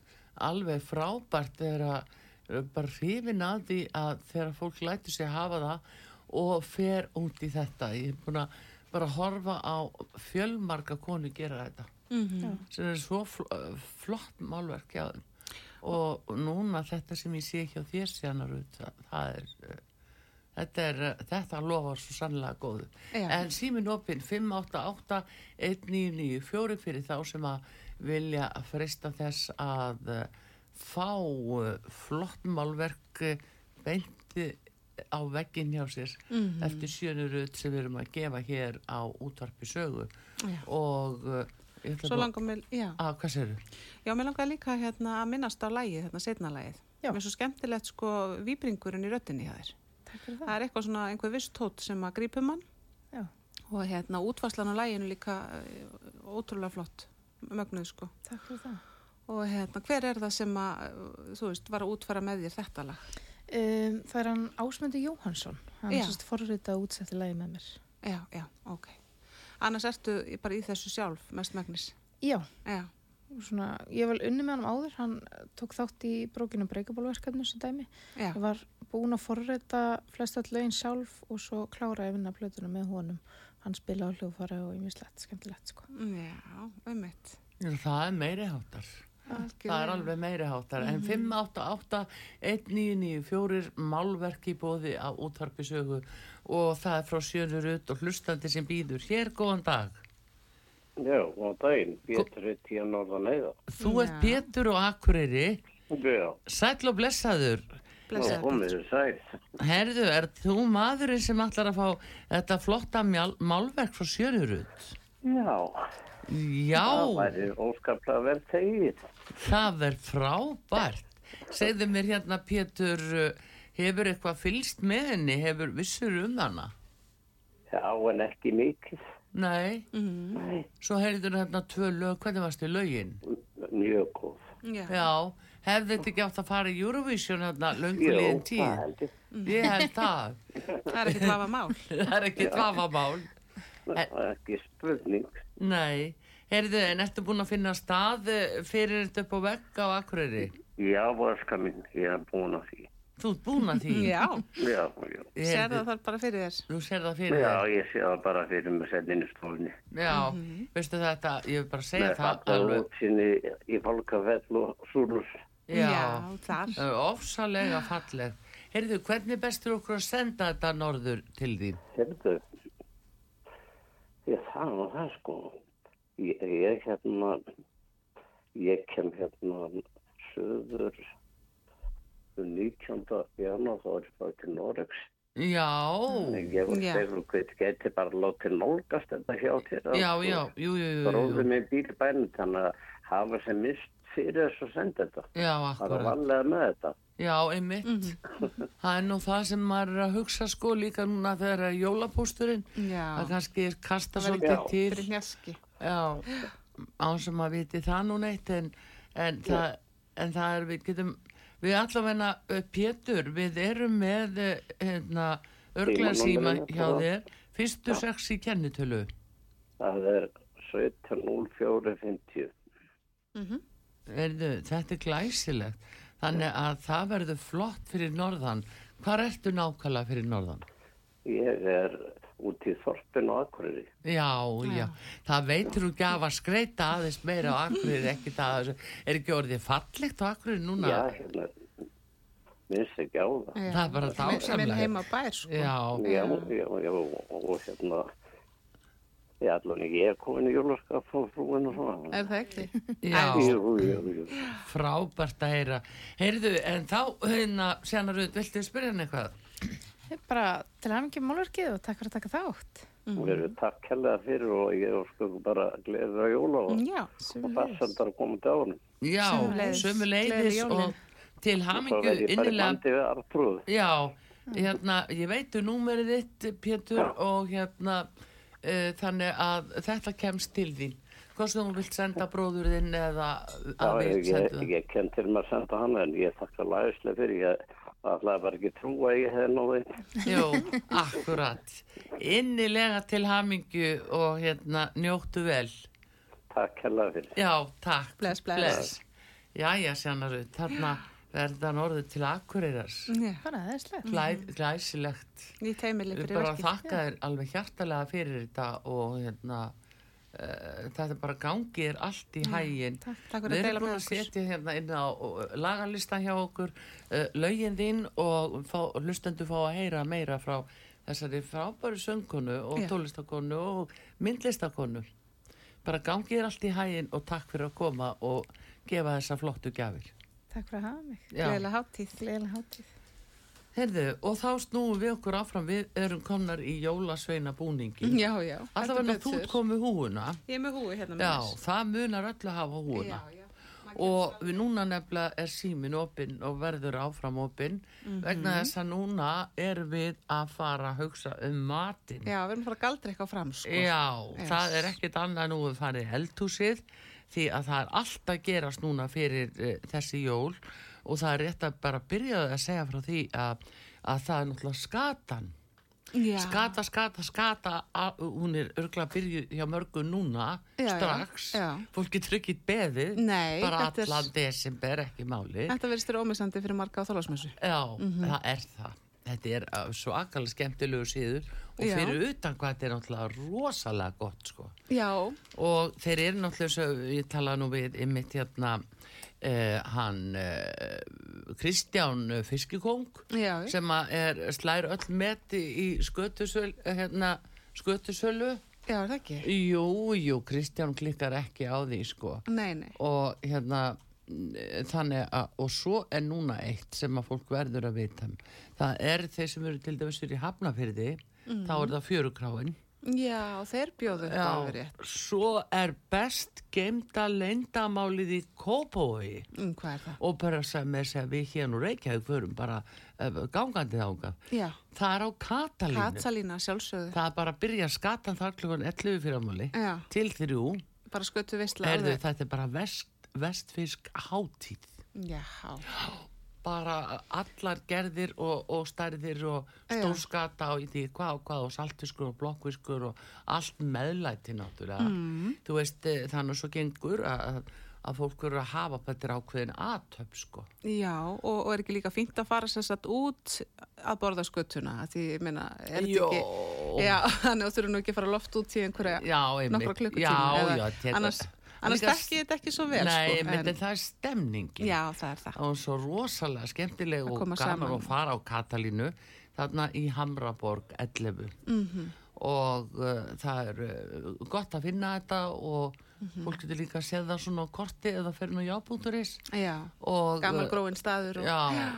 alveg frábært þegar að eh, bara hrifin að því að þegar fólk lætur sig hafa það og fer út í þetta. Ég er búin að bara horfa á fjölmarga konu gera þetta -hmm. sem er svo fl eh, flott málverk hjá þeim. Og núna þetta sem ég sé hjá þér sérna út, það er... eh, Þetta, er, eh, þetta lofar svo sannlega góðu. Já. En síminn opinn 588-1994 fyrir þá sem að vilja freysta þess að eh, fá eh, flott málverk eh, beint eh, á vegginn hjá sér Mm. Mhm. eftir sjönurut sem við erum að gefa hér á útvarpi sögu. Já. Og eh, ég ætla Svo bara- langar mér, já Að, hvað segirðu? Já, mér langar líka hérna að minnast á lagið, hérna setna lagið. Já. Mér er svo skemmtilegt sko víbringurinn í röttinni hjá þér. Takk fyrir Það það. er eitthvað svona einhver viss tótt sem að grípum mann Já, og hérna útvarslan á laginu líka eh, ótrúlega flott, mögnuð sko. takk fyrir það. Og hérna, hver er það sem að, eh, þú veist, var að útfæra með þér þetta lag? Um, það er hann Ásmundi Jóhansson, hann Já. er sérst forrita og útsetti lagi með mér. Já, já, ok. Annars ertu bara í þessu sjálf, mest megnis. Já, Já, og svona, ég var unni með hann áður, hann tók þátt í brókinu breykabólverkefni sem dæmi. já, Ég var búin að forrita flest all lögin sjálf og svo klára að vinna plötuna með honum. Hann spila á hljóðfara og ymmislegt, skemmtilegt sko. já, einmitt. Það er meiri háttar. Það er alveg meiri háttar. En 588-1994 málverk í bóði á útvarpisögu og það er frá sjönur ut og hlustandi sem býður. Hér, góðan dag. Já, á daginn, Pétur hitt ég norðan heiða. Þú ert Já. Pétur og Akureyri, Já, sæll og blessaður. og Blessaður. komið þið sæl. Herðu, er þú maðurinn sem ætlar að fá þetta flotta mjál, málverk frá sjönur ut? Já, það Já, væri óskaplega vel tegið. það er frábært. Segðu mér hérna, Pétur, uh, hefur eitthvað fylst með henni, hefur vissur um hana? Já, en ekki mikið. Nei, svo heyrður hérna tvö lög, hvernig varstu í lögin? Mjög góð. Já, Já, hefði þetta ekki átt að fara í Eurovision hérna löngu Jú, liðin það tíð? held ég. Ég held það, það er ekkert vafa mál. það er ekki tvafamál. Það er ekki spurning. Nei, heyrðu, en ertu búin að finna stað eh, fyrir þetta upp á vegg á Akureyri? Já, varska minn, ég er búin að því. Þú ert búin að því? Já, Já, já. sér Heyrðu, það þar bara fyrir þér. Þú sér það fyrir Já, þér? ég sé það bara fyrir mig senninu stofinni. Já, veistu þetta, ég vil bara segja Með það falla alveg. útsinni í fólkafell og súlur. Já, þar. Eh, ofsalega falleg. Heyrðu, hvernig bestur okkur að senda þetta norður til þín? Hérðu, ég það var það sko. Ég, ég hérna, ég kem hérna söður um 19. januar þá er ég bara til Noregs. Já. En Ég var Já. þegar og hveit geti bara látið nálgast þetta hjá þér. sko. Já, já, jú, jú, jú, jú, jú. Bróði með bílbænum þannig að hafa sem mist fyrir þessu að senda þetta. já, Það er akkurat varlega með þetta. já, einmitt Mhm. það er nú það sem maður er að hugsa sko líka núna þegar er jólapósturinn það Já, kannski er kasta Það verður svolítið gott til fyrir hnjaski. Já, án sem að viti það nú neitt en, en, það, en það er við getum við allavegna eh, Pétur við erum með eh, hérna, örglega síma Símanúmerið, hjá hérna. já. þér fyrstu sex í kennitölu Það er 17.04.50. Erðu, þetta er glæsilegt þannig að það verður flott fyrir norðan hvað ertu nákvæmlega fyrir norðan? Ég er út í þorpin og akkurri. Já, já, það veitir hún gaf að skreita aðeins meira á Akureyri ekki það, er ekki orðið fallegt á Akureyri núna? Já, hérna, minnst ekki á það. Já. Það er bara Sem- sem er dásamlegt. heima bær sko. Já, Já, já, já, og hérna, já, allan ég er komin í jólaskap frá frúin og svona. er það ekki já. Jú, jú, jú. Frábært að heyra. Heyrðu, en þá, hérna, Sjana Röð, viltu spyrja hann eitthvað? Ég bara til að ekki málverkið og takk fyrir að taka þátt. Við erum takk helga fyrir og ég er sko bara gleðið á jóla og, já, og farsaldar komið á hann. Já, Sömuleiðis. sömu Gleðileg leiðis jólin. og til Svo hamingju verð ég bara í innilega. mandi við Artrúð. Já, hérna, ég veitu númerið þitt, Pétur, Já. og hérna, uh, þannig að þetta kemst til þín. Hvort sem þú vilt senda bróður þinn eða að Já, við ég, senda það. ég kem til maður að senda hann en ég þakka lægislega fyrir ég ætlaði bara ekki trúa að ég hefði náði Jú, akkurat. Innilega til hamingju og hérna, njóttu vel. takk hella fyrir Já, takk. Bless, bless. Jæja, sjannaru, þarna verða hann orðið til akkurýras. já. Bara aðeinslega. Glæ, glæsilegt. nýtt heimili Við fyrir bara verkið þakka þér alveg hjartalega fyrir þetta og hérna, uh, þetta bara gangir allt í hægin. takk, takk fyrir Við erum að deila búin með að okkur setja hérna inn á uh, lagarlista hjá okkur, uh, lögin þín og fá, hlustendur fá að heyra meira frá þessari frábæru söngkonu og Já. tólistakonu og myndlistakonu. Bara gangi þér allt í hæginn og takk fyrir að koma og gefa þessa flottu gjafir. Takk fyrir að hafa mig. Já. gleðilega hátíð Gleðilega hátíð. Heyrðu, og þá snúum við okkur áfram, við erum komnar í jólasveina búningi. já, já, Mm. Alltaf heldur verður þú ert betur. komið húuna. ég er með húi hérna með Já, mér. það munar öllu að hafa húuna. já, já. og við núna nefnilega er símin opinn og verður áfram opinn Mhm. vegna þess að núna er við að fara að hugsa um matinn já, við erum að fara að galdra eitthvað fram sko. Já, Yes. það er ekkert annað nú við farið í eldhúsið því að það er allt að gerast núna fyrir uh, þessi jól og það er rétt að bara byrja að segja frá því að, að það er náttúrulega skatan já. skata, skata, skata a- hún er örgla að byrju hjá mörgu núna Já, já, strax, já. fólki tryggir beðið Nei, bara þetta er- allan desember, ekki máli þetta Mhm. verðist þér ómissandi fyrir marga á þólasmessu Já, það er það. Þetta er uh, svo akkarlega skemmtilegu síður og Já. fyrir utan hvað þetta er náttúrulega rosalega gott sko. já, Og þeir eru náttúrulega, svo, ég talaði nú við ymmit hérna, uh, hann uh, Kristján Fiskikong já, já, sem að er slær öll meti í skötusölu, hérna, skötusölu. er það ekki Jú, jú, Kristján klikkar ekki á því sko nei, nei, og hérna mm, þannig að, og svo er núna eitt sem að fólk verður að vita um. það er þeir sem eru til dæmis fyrir hafnafyrði, þá er það fjörukráin já, þeir bjóðu þetta alveg rétt svo er best geimda leyndamálið í Kópói Mm, hvað er það? og bara sem er sem við hérna úr Reykjavík förum bara eh, gangandi þáka já, það er á Katalínu Katalína sjálfsögðu það er bara að byrja skatan þar klukkan 11 fyrir ámáli Já. til þrjú, bara skötu veistla erðu þetta er bara vest, vestfisk hátíð já, bara allar gerðir og, og stærðir og Já. stórskata og í því hvað og hvað og saltiskur og blokkviskur og allt meðlæti náttúrulega. Mm. Þú veist eh, þannig svo gengur að, að fólk eru að hafa betur ákveðin aðtöp sko. já og, og er ekki líka fínt að fara sem sagt út að borða skötuna því, ég meina, er Jó. þetta ekki Já, þannig að þurfum nú ekki að fara loft út í einhverja Já, einmitt. nokkra klukkutíma Já, eða- já, þetta- annars, annars Líka- þekki ég þetta ekki svo vel Nei, sko, menn það er stemningin. Já, það er það Það var svo rosalega skemmtileg Að og koma gaman saman. að fara á Katalínu þarna í Hamraborg 11 Mhm. -hmm. og uh, það er uh, gott að finna þetta og Mhm. fólk getur líka að séð það svona á korti eða fer nú jábúturis Já, og gammal uh, gróin staður og, já,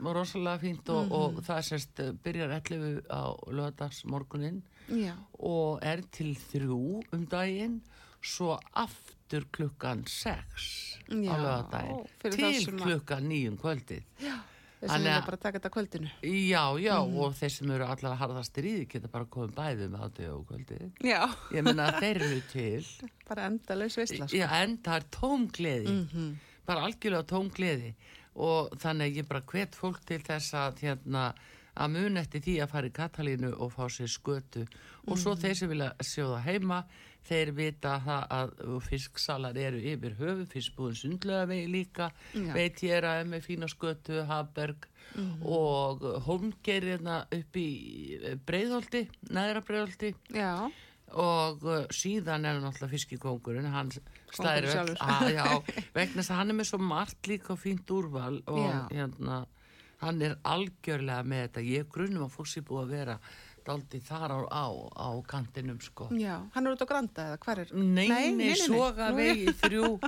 rosalega fínt Mhm. og, og það sérst uh, byrjar 11 á lögadagsmorgunin já. og er til þrjú um daginn svo aftur mættur klukkan 6 Já, á lögadaginn fyrir þá til sem að- klukkan 9 kvöldið. Þess að Þannig við að- bara Mm. að taka þetta á kvöldinu. Já, já, og þeir sem eru allar harðastir í því geta bara komið bæðum á dög og kvöldið. Já, Ég meina þeir eru til, bara endalaus veistla. sko. já, en það er tómgleði, bara algjörlega tómgleði og þannig að ég bara hvet fólk til þess að hérna að mun eftir því að fara í Katalínu og fá sér skötu og svo þeir sem vilja sjóða heima, þeir vita það að fisksalar eru yfir höfu, fiskbúðin sundlega vegi líka, Já. veit ég er að með fína skötu, Hafberg og Holmgeirina upp í Breiðholti, næra Breiðholti Já, og uh, síðan er náttúrulega fiskikóngurinn hann slæðir sjálfur. já, vegna þess að hann er með svo margt líka og fínt úrval og Já. hérna hann er algjörlega með þetta ég grunum að fólks er búið að vera daldi þar á, á, á kantinum sko já, hann er út á Granda eða hvar er? Nei, nei, soga Nú, vegi þrjú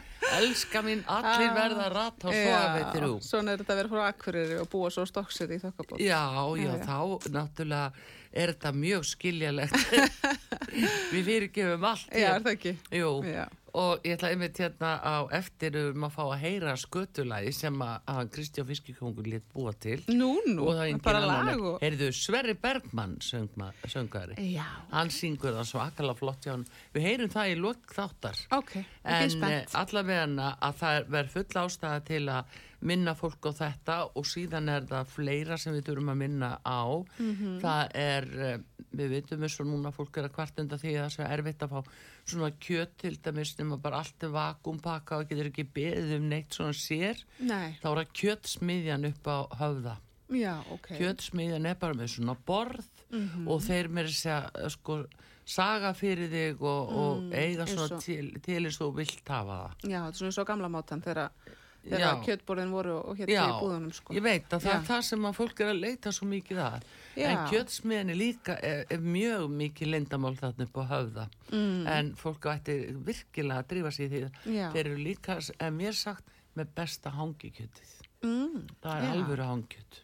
elska mín, allir Ah, verða að rata á soga já, vegi þrjú Svona er þetta að vera frá Akureyri og búa svo stokksir í þokkabótt. Já, já, já. þá náttúrulega er þetta mjög skiljalegt. Við fyrirgefum allt. hér. Já, er það ekki? Jú, Já. og ég ætla einmitt hérna á eftir um að fá að heyra skötulagi sem að, að Kristján Fiskikongur létt búa til. Nú, nú, og það er engin bara annar. lag og... Heyrðu, Sverri Bergmann söngma, söngari. Já, Hann syngur það svakalega flott hjá hann. Við heyrum það í lok þáttar. ok, ekki En eh, spennt. allavega að það verð full ástæða til að minna fólk á þetta og síðan er það fleira sem við þurfum að minna á. Það er, eh, við veitum eins og núna fólk er að kvartenda því að það er erfitt að fá svona kjöt til dæmis nema bara allt er vakumpakka og getur ekki beðið um neitt svona sér. Nei, Þá er að kjötsmiðjan upp á höfða já, ok. Mhm. kjötsmiðjan er bara með svona borð og þeir með þess að sko, saga fyrir þig og, og eiga Mm, eins svona og- til, til eins og þú vilt hafa það. Já, þetta er svona svo gamla mátan þegar, Já. þegar kjötborðin voru og hér til Já, búðunum, sko. ég veit að það er Já. það sem að fólk er að leita svo mikið að. En Já. kjötsmiðjan er líka er, er mjög mikið lindamál þarna upp á höfða. Mm. En fólk ætti virkilega að drífa sig í því. Já. Þeir eru líka, en mér sagt, með besta hangikjötið. Mm, Það er Já. Mm. alvöru hangjöt.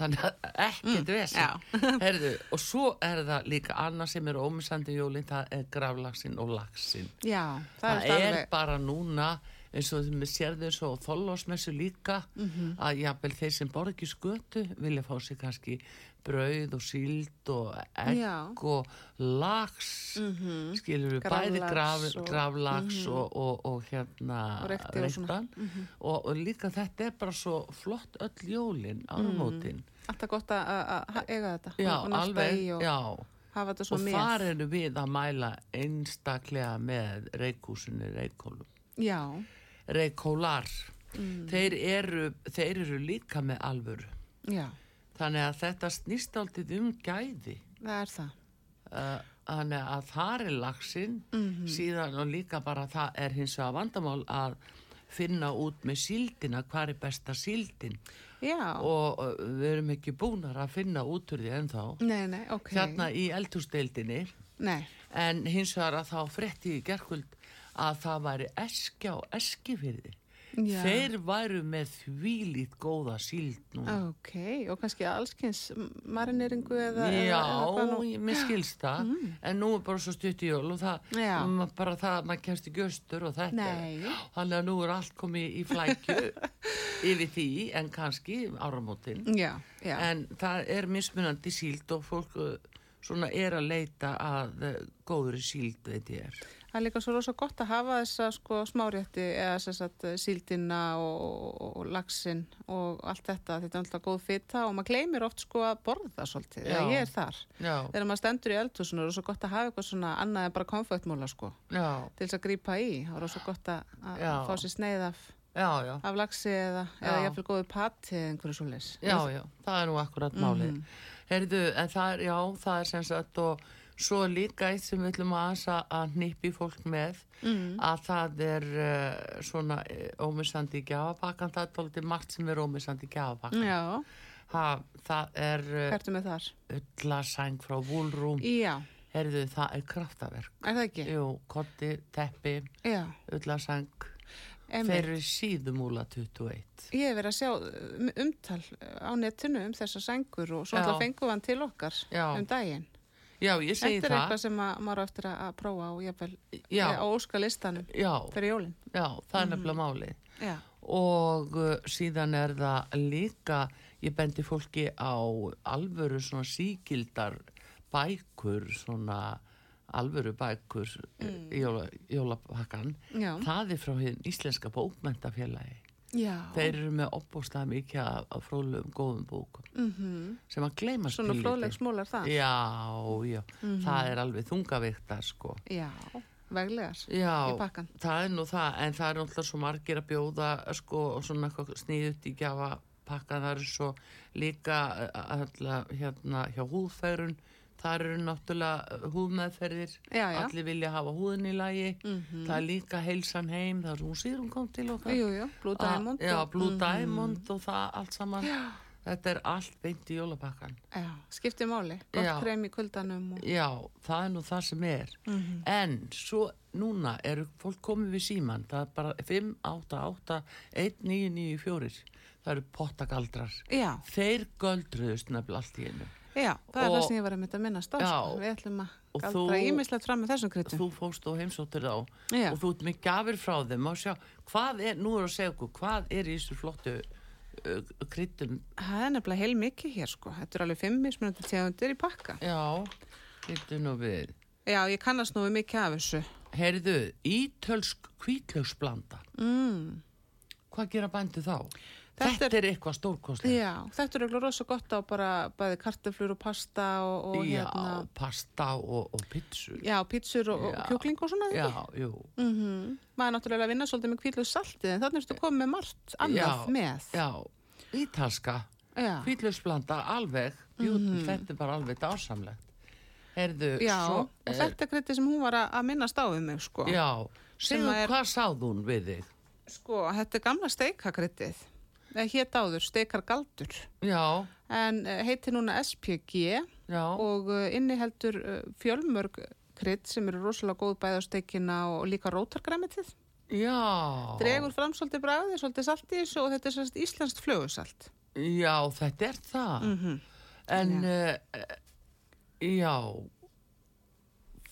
Þannig að ekkert vesen. Herðu, og svo er það líka annað sem er ómissandi í jólinn, það er graflaxinn og laxinn. já, það, Það, er er alveg... bara núna, eins og þið sérðu eins og þollásmessu líka, Mhm. að jafnvel þeir sem borð ekki skötu vilja fá sér kannski brauð og síld og egg Já. og lax, mm -hmm. skilur við bæði Graflax graf, og- Mhm. graflax og, og, og hérna Og reykti og svona. Mhm. reyktan. og, og líka þetta er bara svo flott öll jólin Mhm. áramótin. Alltaf gott að- að að- að eiga þetta Já, og- og nálta alveg, í og já. hafa þetta Og svo með. þar erum við að mæla einstaklega með reikúsinu reikólum. Já, reykólar Mm. þeir, eru, þeir eru líka með alvöru já, þannig að þetta snýst aldrei um gæði það er það. Uh, þannig að þar er laxinn Mhm. síðan og líka bara það er hins vegar vandamál að finna út með síldina hvar er besta síldin Já, og uh, við erum ekki búnar að finna út úr því ennþá nei, nei, ok. hérna í eldhúsdeildinni Nei, en hins vegar að þá frétti ég í gerkvöld að það væri eskja og eskifyrði. Já. Þeir væru með þvílít góða síld núna. ok, og kannski allskins marineringu eða... eða- Já, eða hvað nú- Mm. ég- mér skilst það, en nú er bara svo stutt í jól og það, Já. ma- bara það að maður kemst í göstur og þetta. Nei. Þannig að nú er allt komið í flækju yfir því, en kannski áramótin. Já, já, En það er mismunandi síld og fólk uh, svona er að leita að uh, góðri síld, veit ég er. það er líka svo rosa gott að hafa þessa sko smárétti eða sem sagt eh, síldina og, og, og laxin og allt þetta, þetta er alltaf góð fita og maður gleymir oft sko að borða það svolítið, Já. eða ég er þar. Já, Þegar maður stendur í eldhúsinu er rosa gott að hafa eitthvað svona annað en bara komfötmóla sko já. til þess að grípa í, það er rosa gott að, að Já. fá sér sneið af, Já, já, af laxi eða, Já. eða jafnvel góðu pati eða einhverju svoleiðis. já, já, það er nú akkurat málið. Mhm. Heyrðu, en það er, já, það er sem sagt og svo er líka eitt sem við ætlum aðeins að- að nýppi fólk með Mhm. að það er uh, svona ómissandi í gjafapakkan, það er tóldi margt sem er ómissandi í gjafapakkan. Já, Ha, það er uh, hvertu með þar? öllasæng frá Woolroom, Já, heyrðu, það er kraftaverk. er það ekki? Jú, kotti, teppi, Já, öllasæng, þeir emmi. eru síðumúla 21. Ég hef verið að sjá um- umtal á netinu um þessar sengur og svo Já. alltaf fengum við hann til okkar Já. um daginn. já, ég segi Þetta er það. eitthvað sem að, maður á eftir að, að prófa og jafnvel eh, Já. á óska listanum Já, fyrir jólin. já, það er Mhm. nefnilega málið. Já. og uh, síðan er það líka, ég bendi fólki á alvöru svona síkildar bækur, svona alvöru bækur mm. jóla, jólapakkan, Já. það er frá hinn íslenska bókmentafélagi. Já. Þeir eru með opbóstað mikið af- af fróðlegum góðum bókum Mm sem að gleyma Svona Mhm. flóðleg smólar það. Já, já, það er alveg þungaviktar sko. Já. Veglegar. Já, Í pakkan. það er nú það, en það er náttúrulega svo margir að bjóða sko og svona eitthvað sniðut í gjafa pakkan, það eru svo líka alltaf hérna hjá húðfærun, það eru náttúrulega eh, húðmeðferðir, Já, já. allir vilja hafa húðin í lagi, það er líka heilsan heim, það er hún síður hún kom til okkar. Jú, jú, Blue Að- Diamond. Ah, Já, og- Blue Mhm. Diamond og það allt saman, þetta er allt beint í jólapakkan. Já, skipti máli. Gott Já. krem í kuldanum og... Já, það er nú það sem er. En svo núna eru fólk komið við síman, það er bara 588 1994, það eru pottagaldrar. Já, Þeir göldruðust nefnilega allt í einu. já, það er Og- það sem ég var að mynda að minnast á. Já. sko. Við ætlum að Og galdra þú- ímislegt fram með þessum kryttum. Þú fókst og heimsóttir þá Já. og þú ert með gafir frá þeim og sjá, hvað er, nú er að segja okkur, hvað er í þessu flottu uh, kryddum? Það er nefnilega heil mikið hér sko. Þetta er alveg fimm mismunandi tegundir í pakka. Já, kryddum nú við. Já, ég kannast nú við mikið af þessu. Heyrðu, ítölsk kvítlöksblanda, Mm. hvað gera bændu þá? Þetta Þetta, er- er eitthvað stórkostlega. Já, þetta er eiginlega rosa gott á bara bæði kartaflur og pasta og, og Já, hérna. pasta og, og pizzu. Já, pítsur og, og Já. kjúkling og svona. Já, jú. Mm Maður er náttúrulega að vinna svolítið með kvílu saltið en þannig ertu komið með margt annað Já, með. Já, ítalska, Já. Mhm. hvítlöksblanda, alveg, jú, þetta er bara alveg dásamlegt. Heyrðu, Já, svo... og þetta er kryttið sem hún var að, að minnast á við mig sko. Já, Sem segðu er- hvað sáð hún við þig? Sko, þetta er gamla steikakryttið. Það hétt áður, steikar galdur. Já, En eh, heitir núna SPG já, og eh, inniheldur eh, fjölmörg krydd sem eru rosalega góð bæði á steikina og líka rótargræmitið. já. Dregur fram svolítið bragðið, svolítið salt í þessu og þetta er svolítið íslenskt flögusalt. Já, þetta er það. Mhm. En, já. já,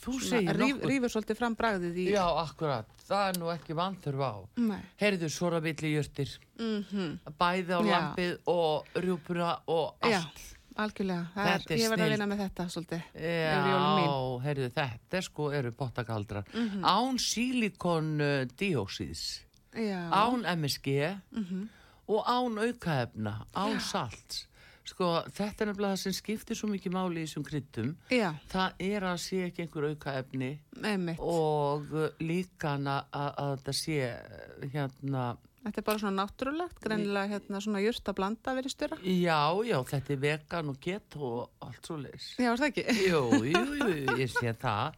þú segir Ríf, nokkuð. rífur svolítið fram bragðið í... Já, akkurat, það er nú ekki vanþörf á. Nei. Heyrðu, svora villi jörtir, bæði á Mhm. Já. lampið og rjúpuna og allt. Já, algjörlega. Það Þetta er er, ég verð snilld. að vinna með þetta svolítið. yfir jólin mín. Já, heyrðu þetta er sko eru pottagaldrar Mhm. án sílikon uh, diósíðs, Já, án MSG og án aukaefna, án salts sko þetta er nefnilega það sem skiptir svo mikið máli í þessum kryddum já, það er að sé ekki einhver aukaefni einmitt. og uh, líka hann að, að að þetta sé uh, hérna Þetta er bara svona náttúrulegt, greinilega hérna svona jurt að blanda verið stjóra. já, já, þetta er vegan og keto og allt svo leys Já, er það ekki? Jú, jú, jú, ég sé það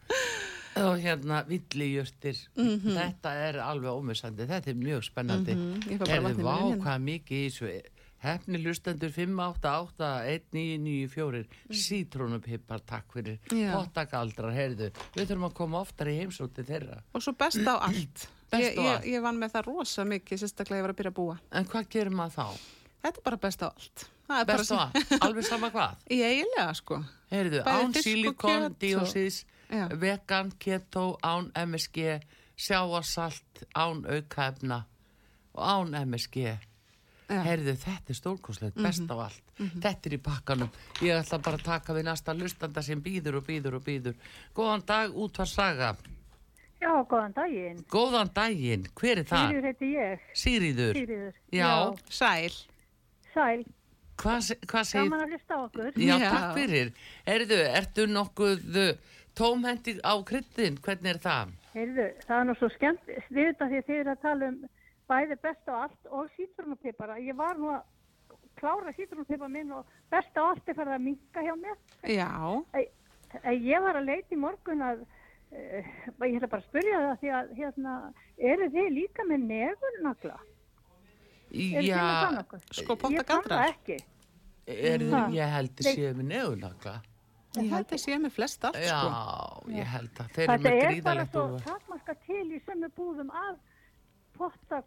og hérna villijörtir þetta er alveg ómissandi þetta er mjög spennandi mm Mhm, ég fæ bara vatn í vá munninn. hvað mikið í þessu hefni hlustendur 5881994 sítrónupippar, takk fyrir Mhm. Já. pottakaldrar, heyrðu við þurfum að koma oftar í heimsóti þeirra Og svo best á allt. Best á ég, ég, allt. ég vann með það rosa mikið, sérstaklega ég var að byrja að búa. en hvað gerir maður þá? Þetta er bara best á allt. Það er bara Best og allt, alveg sama hvað Ég eiginlega, sko. heyrðu, Bæði án fisk og silikon, kjöt og- diósis Já. vegan, keto, án MSG, sjáarsalt, án aukaefna og án MSG. Já. Mhm. Herðu, þetta er stórkoslegt, best á allt. Þetta er í pakkanum. Ég ætla bara að taka við næsta lustanda sem býður og býður og býður. Góðan dag, útvarsaga. Já, góðan daginn. Góðan daginn, hver er það? Sigriður heiti ég, Sýriður. Sigriður. Já, Sæl. Sæl, hvað se- hvað segir gaman að hlusta á okkur. Já, Já. takk fyrir. Herðu, ertu nokkuð uh, tómhendi á kryddin? Hvernig er það? Heyrðu, það er nú svo skemmt, við þetta því að þið eru að tala um bæði best á allt og sítrunupipara. Ég var nú að klára sítrunupipar minn og best á allt er farið að minka hjá mér. Já, Ei, ei, Ég var að leita í morgun að, uh, ég ætla bara að spyrja það því að, hérna, eru þið líka með nefurnagla? Eru þið með þann okkur? sko, potta Ég kann það galdrar. ekki. Er, Ha. ég held að séu með nefnlagla. Ég held að sé með flest allt, Já, sko. ég held að þeir eru Þetta með er bara gríðalegt svo úrval. takmarka til í sömu búðum af potta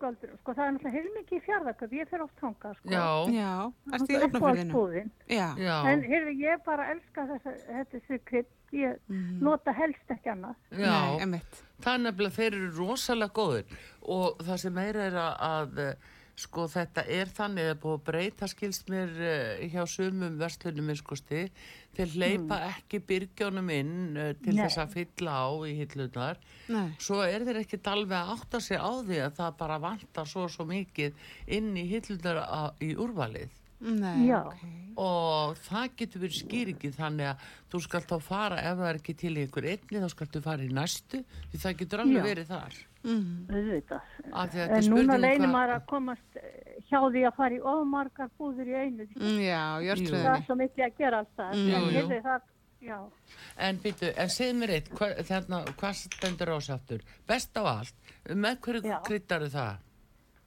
göldur, sko það er náttúrulega heilmikið í fjárðaköp, ég fer oft þangað sko. já, Já, Það ertu í er hafnafjörðinu? uppáhaldsbúðin. Já, En já, heyrðu, ég bara elska þessa, þetta þessu krydd, ég Mhm. nota helst ekki annað. já. Nei, einmitt. Það er nefnilega, þeir eru rosalega góðir og það sem meira er að, að eh, sko þetta er þannig að búið að breyta skilst mér eh, hjá sumum verslunum minnskosti þeir hleypa ekki byrgjónum inn eh, til Hmm. Nei. þess að fylla á í hillunar Nei. svo er þeir ekki alveg að átta sig á því að það bara vantar svo og svo mikið inn í hillunar í úrvalið Nei, Já. ok. og það getur verið skýringi þannig að þú skalt þá fara ef það er ekki til í einhver einni þá skalt þú fara í næstu því það getur alveg Já. verið þar Auðvitað. Af því að þetta er En núna spurning um leynir hvað- maður að komast eh, hjá því að fara í ómargar búður í einu. Mm, Já, Það er jörtröðinni. svo mikið að gera alltaf. Mm, Jú, en jú. heyrðu það, já. En býtu, en segð mér eitt, hva, þarna, hvað stendur ásáttur? Best á allt, með hverju Já. kryttaru það?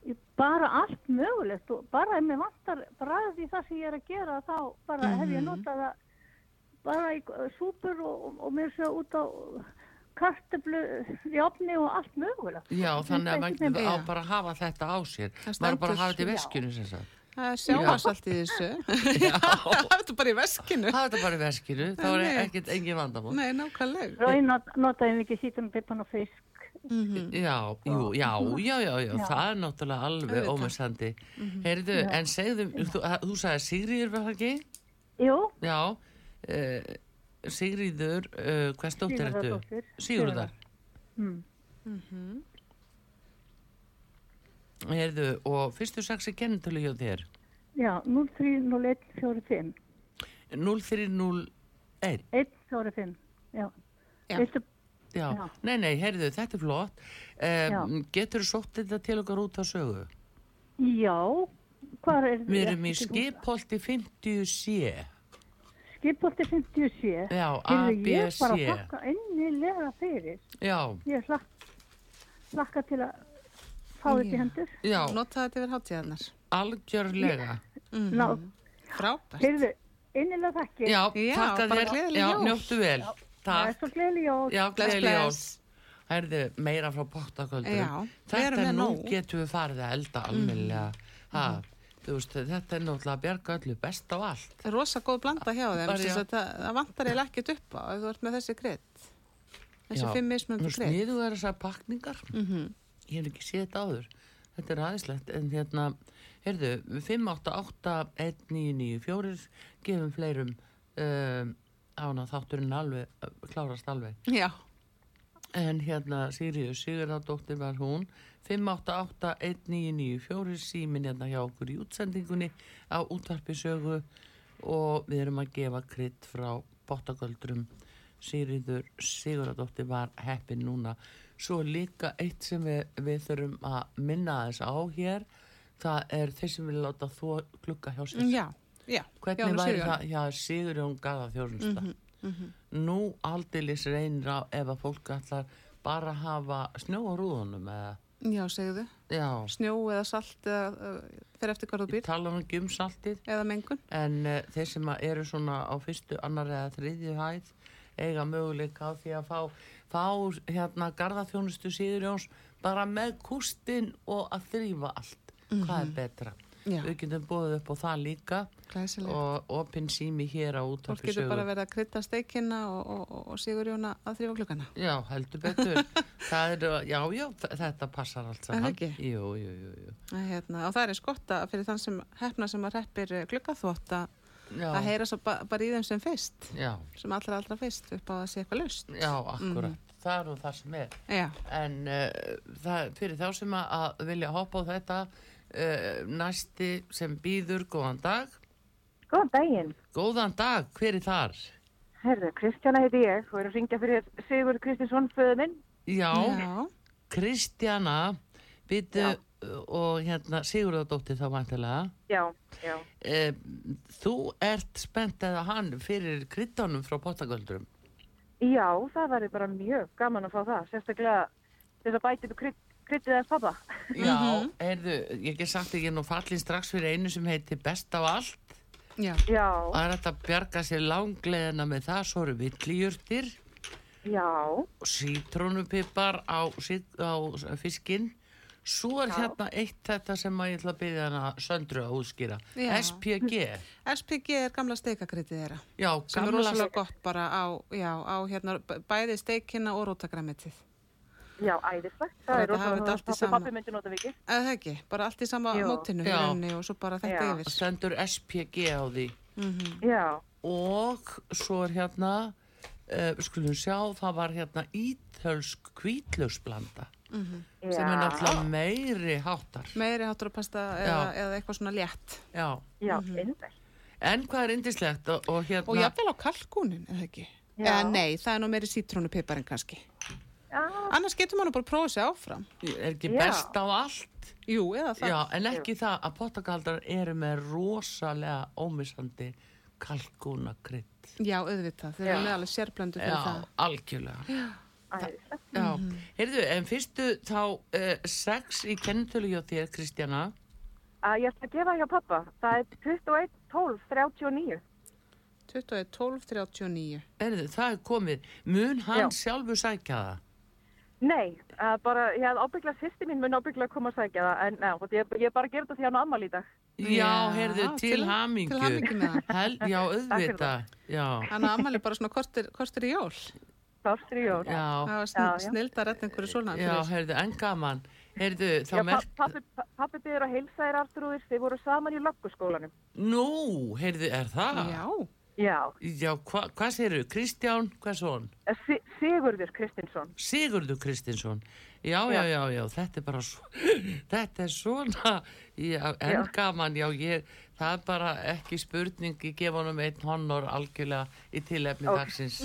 Ég- Bara allt mögulegt og bara ef mér vantar bræðið í það sem ég er að gera þá bara hef Mhm. ég notað það bara í eh, súpur og, og, og mér sé út á kartöflu í opni og allt mögulegt. Já, þannig að einhvern maður veginn- á Já. bara að hafa þetta á sér. Það Maður á bara stendur- að hafa þetta í já. veskinu sem sagt. Það er sjávarsalt í þessu. Já, það ertu bara í veskinu. Hafa þetta bara í veskinu, þá er Nei. ekkert engin vandamál. Nei, nákvæmlega. Rauði not- notaði mikið sítrunpipan og fisk. Mm. Já, jú, já, já, já, já, Já. það er náttúrulega alveg Auðvitað. ómessandi. Heyrðu, en segðu, þú, þú sagði Sigríður var það ekki? Jú, Já, uh, Sigríður, uh, hvers dóttir ertu? Sigurðardóttir. Sigurðar. Mm. Heyrðu, og fyrstu saksi kennitölu hjá þér? já, 030145. 0301. 145, já. Já. Veistu, Já. Já. nei, nei, heyrðu, þetta er flott. Um, Já. getur þú sótt þetta til okkar út á sögu? já, hvað er Við erum í eftir- skipholti 50 sé. Skipholti 57. Já, Heyrðu, Ég bara ABC. þakka ennilega fyrir. Já, Ég hlakka, hlakka til að fá þetta í hendur. já, Nota þetta yfir hátíðarnar. algjörlega. Ná, Frábært. heyrðu, ennilega þakkir. Já, Mhm. Já, takk að bara þér. gleðileg Já, jól. njóttu vel. Það er Takk. svo gleðileg jól. Já, Bless, gleðileg jól. bless. Herðu, meira frá bóttaköldur. Já, við erum þetta með nú nóg. Mm. getum við farið að elda almennilega. Ha, þú veist, þetta er náttúrulega að bjarga öllu best á allt. Það er rosa góð blanda hjá þeim, Bara, þess já. að það, það vantar eiginlega ekkert upp á ef þú ert með þessi greitt. Þessi Já, fimm mismöndu Nú greitt. sniðu er þessar pakningar. Ég hef ekki séð þetta áður. Þetta er aðeinslegt. En hérna, heyrðu, 588-1994 gefum fleirum um, ána þátturinn alveg, klárast alveg. Já, En hérna, Sirius Sigurðardóttir var hún, 588-1994, símin hérna hjá okkur í útsendingunni á útvarpisögu og við erum að gefa krydd frá bóttaköldurum. Sirius Sigurðardóttir var heppin núna. Svo líka eitt sem við, við þurfum að minna þess á hér, það er þeir sem vilja láta þó klukka hjá sér. já, já. Hvernig Jónu væri það Sigurðar. hjá Sigurjón Garðar þjóðnsta? Mhm, Nú aldilis reynir á ef að fólk ætlar bara að hafa snjó á rúðunum eða, Já, segðu. já, Snjó eða salt eða uh, fer eftir hvað þú býr tala um gjumsaltið eða mengun. en uh, þeir sem að eru svona á fyrstu, annar eða þriðju hæð eiga möguleika á því að fá, fá hérna garðaþjónustu Sigurjóns bara með kústinn og að þrýfa allt. Hvað er betra? Mhm. Já. Við getum búið upp á það líka Glæsilega. og opinn sími hér á útvarpi Fólk getur bara verið að krytta steikina og, og, og, og Sigurjóna að þrýfa klukkana. Já, heldur betur. það er, já, já, þ- þetta passar allt það saman. ekki? Jú, jú, jú, jú. Æ, Hérna, og það er eins gott að fyrir þann sem hefna sem að reppir klukkaþvót að Já, að heyra svo ba bara í þeim sem fyrst, já, sem allra allra fyrst upp á að sé eitthvað lust. já, akkurat. Mhm. Það er nú það sem er. Já, En uh, það, fyrir þá sem að- að vilja hoppa á þetta, uh, næsti sem býður, góðan dag. Góðan daginn. Góðan dag, hver er þar? Herðu, Kristjana heiti ég og er að ringja fyrir Sigur Kristinsson föðu minn. Já, já, Kristjana, býtu og hérna Sigurðardóttir þá vantilega. Já, já. Uh, þú ert spennt eða hann fyrir kryddunum frá Bóttagöldurum. Já, það væri bara mjög gaman að fá það, sérstaklega þess að bæti upp krydd, kryddið eða pappa. Já, Mhm. heyrðu, ég hef sagt ekki nú fallin strax fyrir einu sem heitir best af allt. já. Já, Það er hægt að bjarga sér langleðina með það, svo eru villijurtir, já, sítrónupipar á, sit- á fiskinn, Svo er hérna eitt þetta sem að ég ætla að byggja hana söndru að útskýra. Já. SPG. SPG er gamla steikakryttið þeirra Já, sem er gamla rosalega gott bara á, já, á hérna, b- bæði steikina og rótagræmitið Já, æðislegt. Bara Það er þetta hafa þetta rosalega. allt í Pappi, sama. pappi myndi nota vikið. eða það ekki, bara allt í sama Jú. mótinu í Já. rauninni og svo bara þetta Já. yfir stendur SPG á því. Já, Og svo er hérna, uh, skulum sjá, það var hérna ítölsk kvítlösblanda Mhm. já. sem er náttúrulega meiri háttar. meiri hátur að pasta eða, eða eitthvað svona létt Já, Já, einnig. en hvað er indislegt og, og hérna... Mhm. og jafnvel á kalkúnin, eða ekki Já. eða nei, það er nú meiri sítrónupiparinn kannski Já, annars getur maður nú bara að prófa sér áfram er ekki Já. best á allt jú, eða það já, en ekki það að pottakaldar eru með rosalega ómissandi kalkunakrydd Já, auðvitað, þeir eru Já. með alveg sérblöndu fyrir já, það. Mhm. algjörlega æðislegt. já. heyrðu, en fyrstu þá uh, sex í kennitölu hjá þér Kristjana Að ég ætla að gefa hjá pappa. Það er 21, 12, 39. 21, 12, 39. heyrðu, það er komið, mun hann Já. sjálfu sækja það Nei, uh, bara, ég hafði ábyggla, sýsti mín mun ábyggla að koma að sækja það, en já, ég, ég bara gerði þetta því hann á ammali í dag. já, Já, heyrðu, til til- hamingju til hamingju með hann. Hel, já, fyrir auðvita já, Hann á amali bara svona kortir, kortir í jól. Sástri jól. Það já, var sn Já, já. snild að retta einhverju svona. já, hérna. fyrir. heyrðu, en gaman heyrðu, þá Já, merk pappi, pappi byrður að heilsa þér aftrúðir, þið voru saman í lögguskólanum. nú, heyrðu, er það já. Já, Já, hva, hvað segirðu? Kristján, hvað svo hann? eh, Si- Sigurður Kristinsson. Sigurður Kristinsson. Já, já, Já. já, já, þetta er bara svona, þetta er svona, já, en Já. gaman, já, ég, það er bara ekki spurning, ég gef honum einn honor algjörlega í tilefni Ó. dagsins.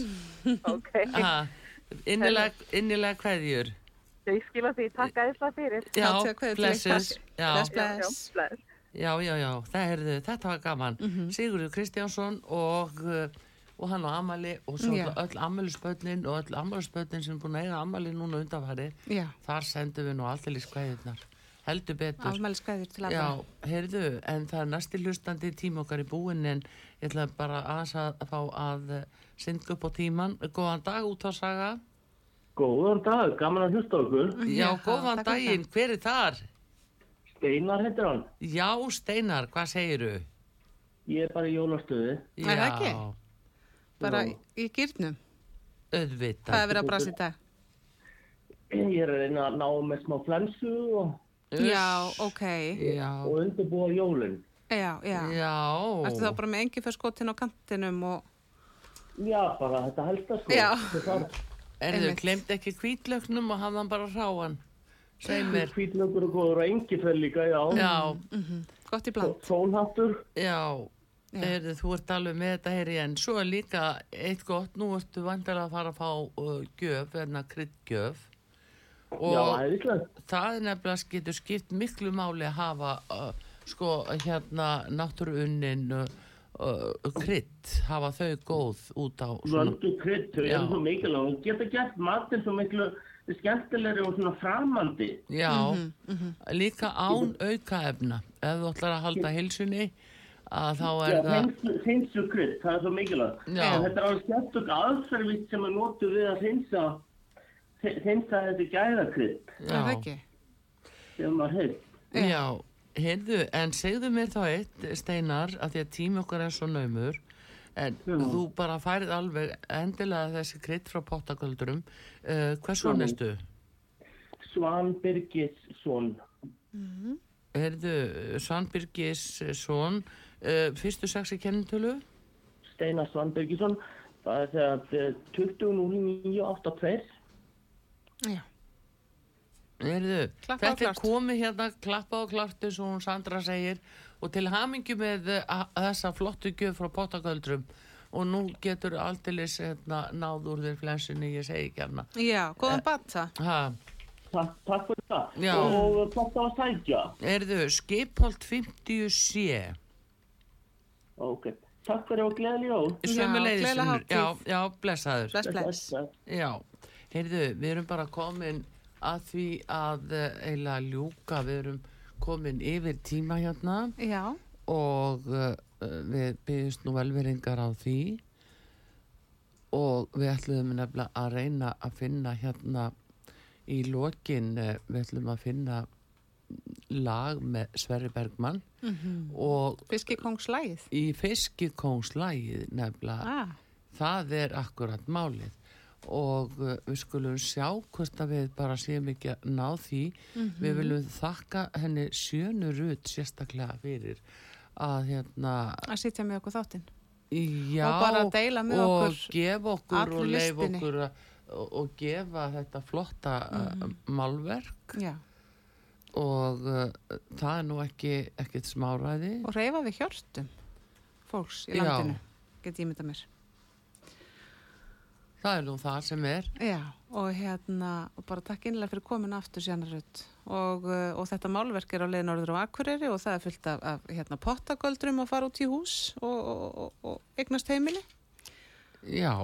Ok, Ha, innilega, innilega kveðjur. ég skila því, takk æðislega fyrir. Já, til að kveðja til blessus. ykkar. Já, Bless, Já, já, bless. bless. já, já, já, það er, þetta var gaman. Mhm. Sigurður Kristjánsson og... uh, og hann á Amali og svo Já. öll, öll Amalispötnin og öll Amalispötnin sem er búin að eiga Amali núna undanfærið Já, Þar sendum við nú alltaf í skvæðunar. Heldur betur. afmæli skæður til Já, aðra. heyrðu, en það er næsti hlustandi tíma okkar í búin en ég ætla bara aðeins að fá að syndga upp á tíman. Góðan dag út á saga. Góðan dag, gaman að hlusta á okkur. Já, Já, góðan takk fyrir daginn, hver er þar? Steinar heitir hann. Já, Steinar, hvað segiru? Ég er bara í jólastöði. Já, það ekki? Bara Já. í gýrnum. Það er auðvitað. verið að brasa í dag. Ég er að reyna að ná með smá flensu og, Já, ok. Já, og undirbúa jólinn. Já, já. Ertu þá já, bara með engi fyrir skotin á kantinum og... Já, bara þetta helsta sko. Já. Þetta þarf erðu, einmitt. glemt ekki kvítlöknum og hafðan bara ráan. Segð mér. hvítlökur og góður og engifell líka, já. Já, Gott í bland. Sólhattur. Já, heyrðu, þú ert alveg með þetta heyri en svo er líka eitt gott, nú ertu vandilega að fara að fá uh, gjöf, verðna kryddgjöf og Já, æðislegt. það er nefnilega getur skipt miklu máli að hafa uh, sko hérna náttúruunnin uh, uh, krydd, hafa þau góð út á svona Vöndu krydd, þau Já. eru svo mikilvæg. Hún geta gert matinn svo miklu skemmtilegri og svona framandi. Já, Mhm, líka án aukaefna ef þú ætlar að halda hilsunni að þá er Já, það hreinsu krydd, það er svo mikilvægt. Já. En þetta er alveg skemmtug aðferðvist sem er notuð við að hreinsa, hreinsa þetta gæðakrydd Er það ekki? sem að heilt. Já, heyrðu, en segðu mér þá eitt, Steinar, að því að tími okkar er svo naumur, en þú bara færið alveg endilega þessi krydd frá pottaköldurum. Uh, hvers svo næstu? Svan Birgisson. Heyrðu, Svanbyrgis son, uh, fyrstu sex í kennitölu? Steinar Svan Birgisson. Það er þegar 20.09.82. Já. Heyrðu, Klappað og þetta er klárt. komið hérna klappa og klart eins og hún Sandra segir og til hamingju með eh, a- þessa flottu gjöf frá pottaköldurum og nú getur aldeilis hérna, náð úr þér flensinni, ég segi ekki hana. Já, góðan bata. Ha, Takk, takk fyrir það. Já. Og þetta var sækja. Erðu, skipholt 50 sé Ok. Takk fyrir og gleðli jól. Sömmuleiðis gleðilega Unnur. hátíð. Já, já, blessaður Bless, bless. Já, heyrðu, við erum bara komin að því að eh, eiginlega ljúka, við erum komin yfir tíma hérna Já, og uh, við byggjumst nú velveringar á því og við ætluðum nefnilega eh, að reyna að finna hérna í lokin, uh, við ætlum að finna lag með Sverri Bergmann og Fiskikóngslægið. í fiskikóngslægið nefnilega Ah, það er akkurat málið og uh, við skulum sjá hvort að við bara séum ekki að ná því Mhm. við viljum þakka henni sjönu rut sérstaklega fyrir að hérna að sitja með okkur þáttinn. já, Og bara deila með og okkur gefa okkur allri og leifa listinni. okkur að- og, og gefa þetta flotta Mhm. mm. málverk Já. og uh, það er nú ekki ekkert smáræði Og reyfa við hjörtum fólks í Já. landinu, get ég mynda mér. það er nú það sem er Já, og hérna, og bara takk innlega fyrir komin aftur sérnarut og, uh, og þetta málverk er á leiðin orður á Akureyri og það er fullt af, af hérna, pottagöldrum að fara út í hús og, og, og, og eignast heimili. já,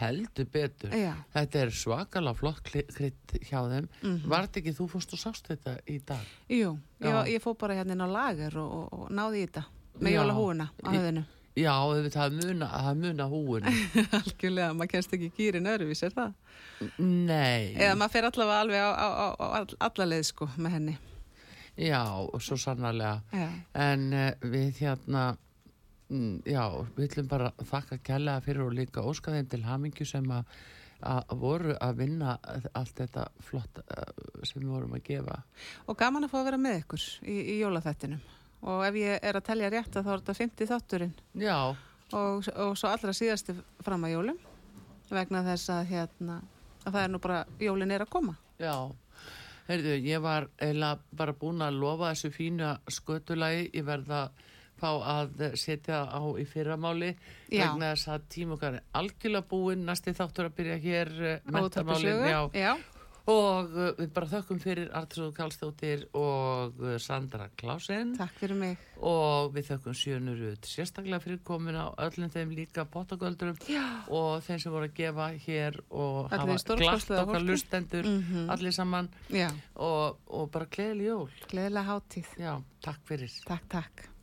heldur betur Já, Þetta er svakalega flott kli- krydd hjá þeim. Mm Mhm. Var þetta ekki, þú fórst og sást þetta í dag? jú, ég, Já. ég fór bara hérna inn á lager og, og, og náði í þetta með Já. jólahúuna á Í- höfðinu. Já, það muna, það muna húinu. Algjörlega, maður kennst ekki gýrin öðruvís, er það? Nei, Eða maður fer allavega alveg á, á, á, á all- alla leið sko með henni. já, svo sannarlega. Já. En uh, við hérna, mm, já, við ætlum bara að þakka kærlega fyrir og líka óska þeim til hamingju sem að að voru að vinna allt þetta flott eh, sem við vorum að gefa. Og gaman að fá að vera með ykkur í, í jólaþættinum. Og ef ég er að telja rétt að þá er þetta 50 þátturinn Já, og, og svo allra síðasti fram að jólum vegna þess að, hérna, að það er nú bara, jólin er að koma. Já, heyrðu, ég var eiginlega bara búin að lofa þessu fína skötulagi, ég verða fá að setja á í fyrramáli Já. vegna þess að tíma okkar er algjörlega búinn, næsti þáttur að byrja hér mentamálin, Óþarfisögu. já, Já, og uh, við bara þökkum fyrir Artrúðu Kallstóttir og uh, Sandra Klásen takk fyrir mig. og við þökkum sjönur út sérstaklega fyrir komin á öllum þeim líka potagöldurum og þeim sem voru að gefa hér og Öllu hafa stórkostlega glatt okkar fólki. Mhm. lustendur allir saman Já, og, og bara gleðileg jól gleðilega hátíð. já, takk fyrir Takk, takk.